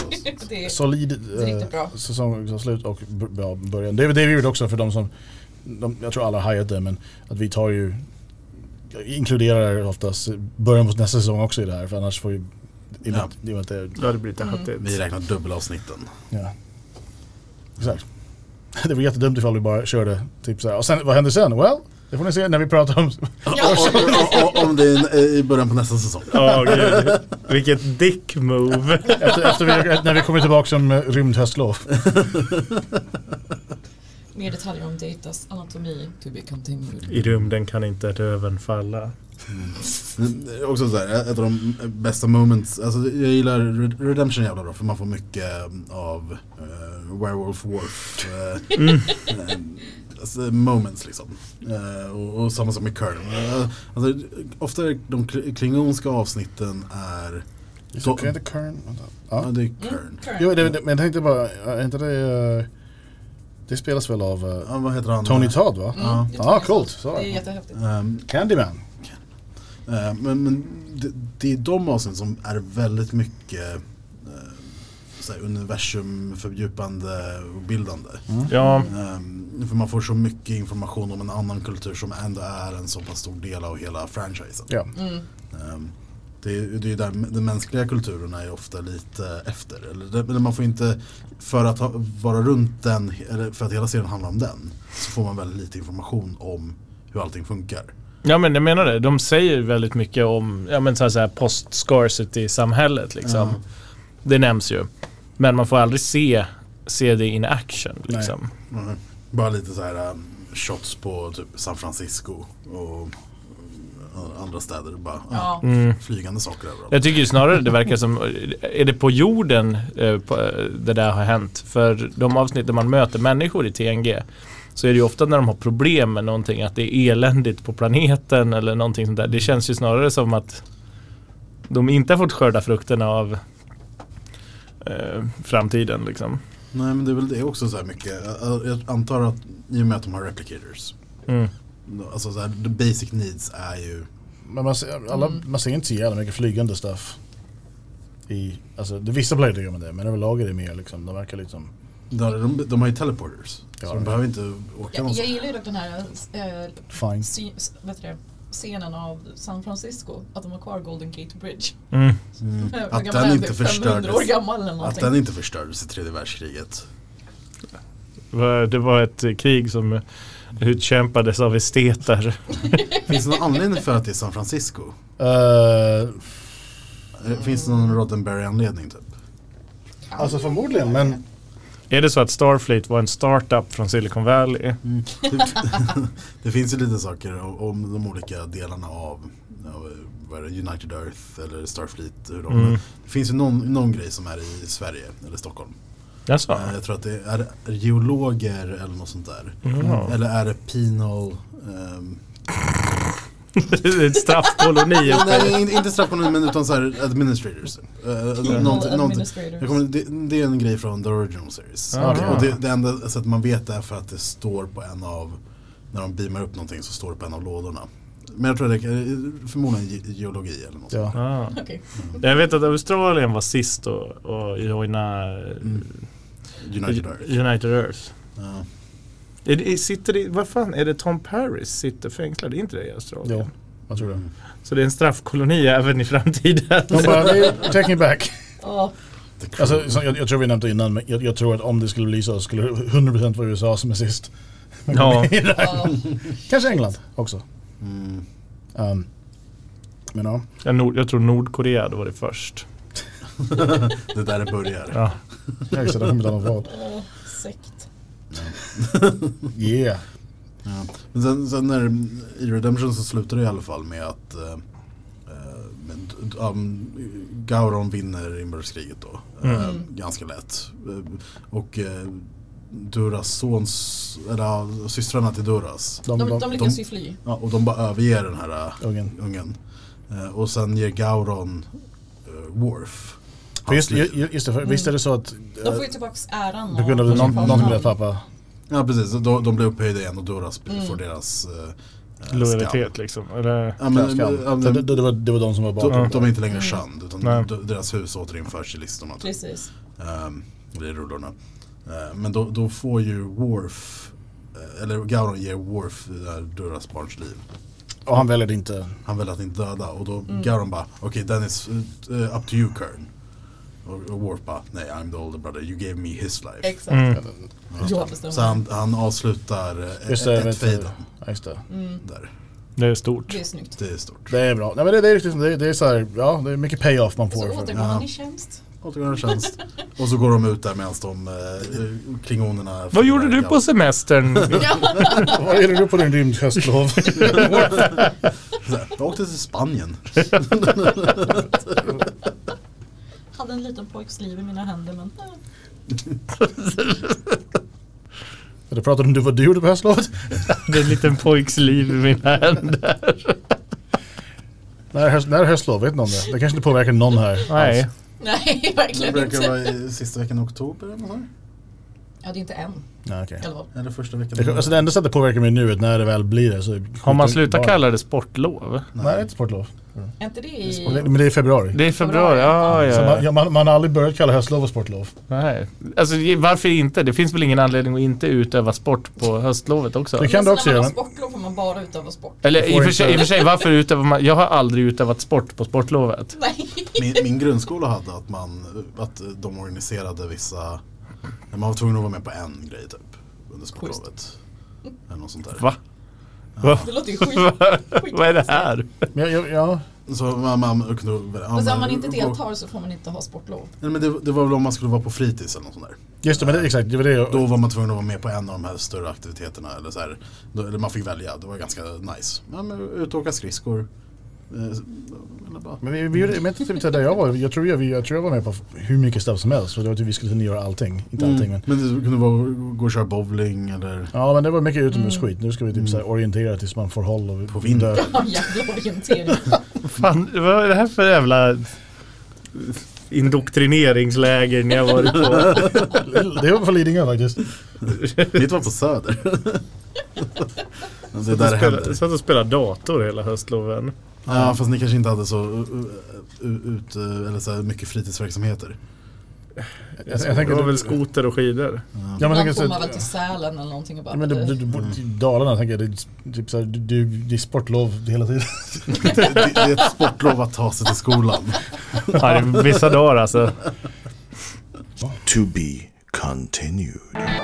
Speaker 3: det är
Speaker 2: Solid
Speaker 3: är riktigt bra.
Speaker 2: eh, säsongsavslut och b- bra början. Det, är- det är vi gjorde också för de som, de, jag tror alla har hajat det men att vi tar ju, inkluderar oftast början på nästa säsong också i det här för annars får ju, i och med
Speaker 5: Ja.
Speaker 2: att- i och med att det,
Speaker 4: Då hade det blivit hattigt.
Speaker 5: Vi räknar dubbelavsnitten.
Speaker 2: ja. Exakt. Det var jättedumt ifall vi bara körde typ så här. och sen vad hände sen? Well, Det får ni se när vi pratar om...
Speaker 5: O- o- Om det är eh, i- i början på nästa säsong.
Speaker 4: Ja, gud. Vilket dick move.
Speaker 2: Efter, efter vi, när vi kommer tillbaka som eh, rymdhöstlov.
Speaker 3: Mer detaljer om Datas anatomi to be continued.
Speaker 4: I rymden kan inte röven falla.
Speaker 5: Det är Också så här, ett av de bästa moments, alltså jag gillar Red- Redemption jävla bra för man får mycket eh, av eh, Werewolf Wharf eh, eh, alltså, moments liksom. Eh, och, och samma sak med Kern. Eh, alltså, ofta är de kl- klingonska avsnitten är,
Speaker 2: Så, kan jag inte Kern? Vänta.
Speaker 5: ja
Speaker 2: Ja.
Speaker 5: det är
Speaker 3: Mm.
Speaker 5: Kern.
Speaker 2: Jo, det, det, men jag tänkte bara, är inte det... eh, Det spelas väl av eh,
Speaker 5: Ja, vad heter han?
Speaker 2: Tony Todd va?
Speaker 5: Ja.
Speaker 3: Mm, det tror
Speaker 2: Ja,
Speaker 3: jag.
Speaker 2: coolt.
Speaker 3: Det
Speaker 2: Så.
Speaker 3: är jättehäftigt.
Speaker 5: Ehm,
Speaker 2: Candyman.
Speaker 5: Eh, Men, men det, det är de avsnitt som är väldigt mycket eh, så här, universumfördjupande och bildande.
Speaker 2: Mm.
Speaker 4: Ja,
Speaker 5: Eh, för man får så mycket information om en annan kultur som ändå är en så pass stor del av hela franchisen.
Speaker 2: Ja.
Speaker 3: Mm.
Speaker 5: Eh, det, är- det är där den mänskliga kulturen är ofta lite efter. Eller, det- eller man får inte, för att ha, vara runt den, eller för att hela serien handlar om den, så får man väldigt lite information om hur allting funkar.
Speaker 4: ja, men jag menar det. De säger väldigt mycket om ja, men så här, så här post-scarcity-samhället. Liksom. Det nämns ju. Men man får aldrig se, se det in action. Liksom.
Speaker 5: Mm. Bara lite så här um, shots på typ San Francisco och uh, andra städer. Bara,
Speaker 3: Ja.
Speaker 2: Mm.
Speaker 5: ja, Flygande saker överallt.
Speaker 4: Jag tycker ju snarare det verkar som, är det på jorden eh, på, eh, det där har hänt? För de avsnitt där man möter människor i TNG så är det ju ofta när de har problem med någonting, att det är eländigt på planeten eller någonting sånt där. Det känns ju snarare som att de inte har fått skörda frukterna av eh, framtiden liksom.
Speaker 5: Nej men det är väl det också så här mycket. Jag- jag- Jag antar att i och med att de har replicators.
Speaker 4: Mm.
Speaker 5: Alltså så här, the basic needs är ju.
Speaker 2: Men man ser, alla,
Speaker 3: Mm.
Speaker 2: man ser inte så jävla mycket flygande stuff. I, alltså, det, vissa blöjor gör man det, men överlag är det mer liksom, de verkar liksom...
Speaker 5: De, de, de har ju teleporters.
Speaker 2: Ja,
Speaker 5: så
Speaker 2: det.
Speaker 5: de behöver inte åka
Speaker 3: Jag, jag
Speaker 5: någonstans.
Speaker 3: gillar ju dock den här eh,
Speaker 2: Fine.
Speaker 3: sy, s- vad heter det, scenen av San Francisco. Att de har kvar Golden Gate Bridge.
Speaker 4: Mm.
Speaker 3: Hur gammal
Speaker 5: Att
Speaker 3: är
Speaker 5: den inte
Speaker 3: Typ 500 år
Speaker 5: förstördes.
Speaker 3: gammal eller
Speaker 5: Att
Speaker 3: någonting.
Speaker 5: den inte förstördes i tredje världskriget.
Speaker 4: Va- Det var ett eh, krig som utkämpades av esteter.
Speaker 5: Finns det någon anledning för att det är San Francisco?
Speaker 2: Eh,
Speaker 5: Eh,
Speaker 3: Mm.
Speaker 5: Finns det någon Roddenberry-anledning typ?
Speaker 2: alltså förmodligen, men...
Speaker 4: Är det så att Starfleet var en startup från Silicon Valley?
Speaker 5: Det- det finns ju lite saker om, om de olika delarna av av, eh, vad är det, United Earth eller Starfleet. Hur de,
Speaker 4: Mm.
Speaker 5: Det finns ju någon, någon grej som är i Sverige eller Stockholm.
Speaker 4: Jaså?
Speaker 5: Eh, Jag tror att det är är geologer eller något sånt där.
Speaker 4: Mm.
Speaker 5: Mm.
Speaker 4: Ja.
Speaker 5: Eller är det penal... ehm,
Speaker 4: Ett straffkoloni uppe i-
Speaker 5: nej, in- inte straffkoloni men utan så här administrators. Uh, någonting, någonting.
Speaker 3: administrators.
Speaker 5: Jag kommer, det, det är en grej från the original series.
Speaker 4: Ah,
Speaker 5: och
Speaker 4: okej.
Speaker 5: och det, det enda sättet man vet är för att det står på en av, när de beamar upp någonting så står det på en av lådorna. Men jag tror det är förmodligen ge- geologi eller något.
Speaker 2: Ja.
Speaker 4: Ah.
Speaker 3: Okej.
Speaker 4: Jag vet att Australien var sist och, och joina eh,
Speaker 5: United Earth.
Speaker 4: United Earth.
Speaker 5: Ja.
Speaker 4: Är det, sitter det, vad fan, är det Tom Paris sitter fängslad? Är inte det i Australien?
Speaker 2: Jo, jag tror det.
Speaker 4: Så det är en straffkoloni även i framtiden?
Speaker 2: De bara, "We- take me back.
Speaker 3: Ja,
Speaker 5: The crew.
Speaker 2: Alltså, som jag, jag tror vi nämnde innan, men jag, jag tror att om det skulle bli så skulle det 100% vara USA som är sist.
Speaker 4: ja.
Speaker 3: ja.
Speaker 2: Kanske England också.
Speaker 5: mm.
Speaker 2: Ehm, men ja.
Speaker 4: jag, nord, jag tror Nordkorea då var det först.
Speaker 5: Det är där det börjar.
Speaker 4: Ja.
Speaker 2: Jag visste att det kommer inte vad.
Speaker 3: Åh, sekt.
Speaker 2: Yeah.
Speaker 5: Ja. Men sen, sen när, i Redemption så slutar det i alla fall med att eh, eh, men, d- um, Gauron vinner inbördeskriget då. Eh,
Speaker 2: Mm.
Speaker 5: ganska lätt. Eh, och eh, Duras sons, eller ja, systrarna till Duras.
Speaker 2: De,
Speaker 3: De,
Speaker 2: de,
Speaker 3: de lyckas ju fly.
Speaker 5: Ja, och de bara överger den här eh,
Speaker 2: Ungen.
Speaker 5: ungen. Eh, och sen ger Gauron uh, Worf.
Speaker 2: för just,
Speaker 5: hans liv.
Speaker 2: ju- just det, för, visst är det så att
Speaker 3: Mm.
Speaker 2: eh,
Speaker 3: De får ju tillbaks äran.
Speaker 2: på grund av
Speaker 3: av-
Speaker 2: det, någon, någonting med deras pappa,
Speaker 5: Ja precis, de, de blir upphöjda igen och Duras
Speaker 2: Mm.
Speaker 5: får deras eh, eh, skam.
Speaker 4: Lojalitet liksom. Eller,
Speaker 5: Ja, men,
Speaker 2: skam.
Speaker 5: ja, men-
Speaker 2: Så det, det, det, var, det var de som var
Speaker 5: De,
Speaker 2: bakom.
Speaker 5: de är inte längre shunned utan
Speaker 4: Nej.
Speaker 5: d- deras hus återinförs i listorna. Typ.
Speaker 3: Precis.
Speaker 5: Ehm, eller i rullorna. Ehm, men då, då får ju Worf, eh, eller Gauron ger Worf det där Duras barns liv.
Speaker 2: Och han väljer det inte.
Speaker 5: Han vill att inte döda och då Gauron bara okej okay, then it's eh, up to you Kern. Och, och Worf bara, nej I'm the older brother, you gave me his life.
Speaker 3: Exakt.
Speaker 2: Mm.
Speaker 3: Jag
Speaker 5: Så
Speaker 3: bestämmer.
Speaker 5: han, han avslutar eh,
Speaker 2: Just det,
Speaker 5: ett, ett
Speaker 2: vet du.
Speaker 5: fejden
Speaker 2: Ja, just det.
Speaker 3: Mm.
Speaker 5: där.
Speaker 4: Det är stort.
Speaker 3: Det är snyggt.
Speaker 5: Det är stort.
Speaker 2: Det är bra. Nej, men det, det är riktigt, det, är- det är så här, ja, det är mycket payoff man får.
Speaker 3: Så
Speaker 2: För.
Speaker 3: återgår han i tjänst.
Speaker 5: Återgår i tjänst. Och så går de ut där medan de eh, klingonerna...
Speaker 4: Vad gjorde du på semestern?
Speaker 2: Vad är det du på din rymdhöstlov?
Speaker 5: Jag åkte till Spanien.
Speaker 3: Hade en liten pojks liv i mina händer men eh,
Speaker 2: du pratade om du, vad du gjorde på höstlovet.
Speaker 4: Det är en liten pojks liv i mina händer.
Speaker 2: När, är höst, när är höstlov? Vet någon det? Det kanske inte påverkar någon här.
Speaker 4: Nej.
Speaker 2: alls.
Speaker 3: nej
Speaker 5: Det
Speaker 3: verkligen
Speaker 5: brukar
Speaker 3: inte.
Speaker 5: vara i sista veckan i oktober eller nåt sånt.
Speaker 3: Ja det är inte än.
Speaker 2: Nej, okej.
Speaker 3: Eller vad?
Speaker 5: Eller första veckan
Speaker 2: Det, alltså det enda sättet det påverkar mig nu är att när det väl blir det så...
Speaker 4: Har man slutat kalla det sportlov?
Speaker 2: Nej, det är inte sportlov.
Speaker 3: Är inte det
Speaker 2: Det-
Speaker 3: i...
Speaker 2: Men det är i februari.
Speaker 4: Det är i februari, ja,
Speaker 2: Så
Speaker 4: ja.
Speaker 2: man, ja, man, man har aldrig börjat kalla höstlov och sportlov.
Speaker 4: Nej. Alltså varför inte? Det finns väl ingen anledning att inte utöva sport på höstlovet också?
Speaker 2: Det kan
Speaker 3: Men
Speaker 2: du också
Speaker 3: så när man
Speaker 2: göra.
Speaker 3: har sportlov får man bara utöva sport.
Speaker 4: Eller
Speaker 2: Du
Speaker 4: i
Speaker 2: får
Speaker 4: och för sig, i och
Speaker 2: inte-
Speaker 4: för sig varför utövar man? Jag har aldrig utövat sport på sportlovet.
Speaker 3: Nej.
Speaker 5: Min, min grundskola hade att man, att de organiserade vissa, man var tvungen att vara med på en grej typ under sportlovet. Eller något sånt där.
Speaker 4: Va?
Speaker 3: Det låter ju skit.
Speaker 4: Vad är det här?
Speaker 2: Men jag, jag, ja,
Speaker 5: Så man, man kunde... ja,
Speaker 3: Fast om
Speaker 5: men-
Speaker 3: man inte deltar så får man inte ha sportlov.
Speaker 5: Nej men det, det var väl om man skulle vara på fritids eller något sånt där.
Speaker 2: just det, men det, exakt. Det var det jag,
Speaker 5: Då var man tvungen att vara med på en av de här större aktiviteterna. Eller, så här, då, eller man fick välja, det var ganska nice. Ja, men ut och åka skridskor. Eh, Eller bara.
Speaker 2: men vi, vi gjorde, men typ inte där jag var. Jag tror jag, vi- jag tror jag var med på hur mycket stuff som helst. För det var typ vi skulle kunna göra allting. Inte
Speaker 5: Mm.
Speaker 2: allting men.
Speaker 5: Men det kunde vara att gå och köra bowling eller...
Speaker 2: Ja men det var mycket utomhusskit. Nu ska vi typ så här orientera tills man får håll och
Speaker 5: Mm. På vintern.
Speaker 2: dör.
Speaker 3: Ja, jävla orientering.
Speaker 4: Fan, vad är det här för jävla indoktrineringsläger ni har varit på?
Speaker 2: Det var på Lidingö faktiskt.
Speaker 5: Mitt var på Söder. det är där det händer.
Speaker 4: satt och spelade dator hela höstloven.
Speaker 5: Ja, fast ni kanske inte hade så, uh, uh, ut, uh, eller så här mycket fritidsverksamheter.
Speaker 2: Jag, jag tänker, du,
Speaker 4: skoter och skidor.
Speaker 2: ja, men jag tänker
Speaker 3: Ibland
Speaker 2: så
Speaker 3: får man väl till
Speaker 2: här-
Speaker 3: Sälen eller någonting och bara... "Äh."
Speaker 2: ja, men du, du, du
Speaker 5: Mm.
Speaker 2: bor i Dalarna tänker jag. Det är, typ så här, du, du, det är sportlov hela tiden.
Speaker 5: Det, det, det är ett sportlov att ta sig till skolan.
Speaker 4: Ja, det är vissa dagar alltså.
Speaker 1: To be continued.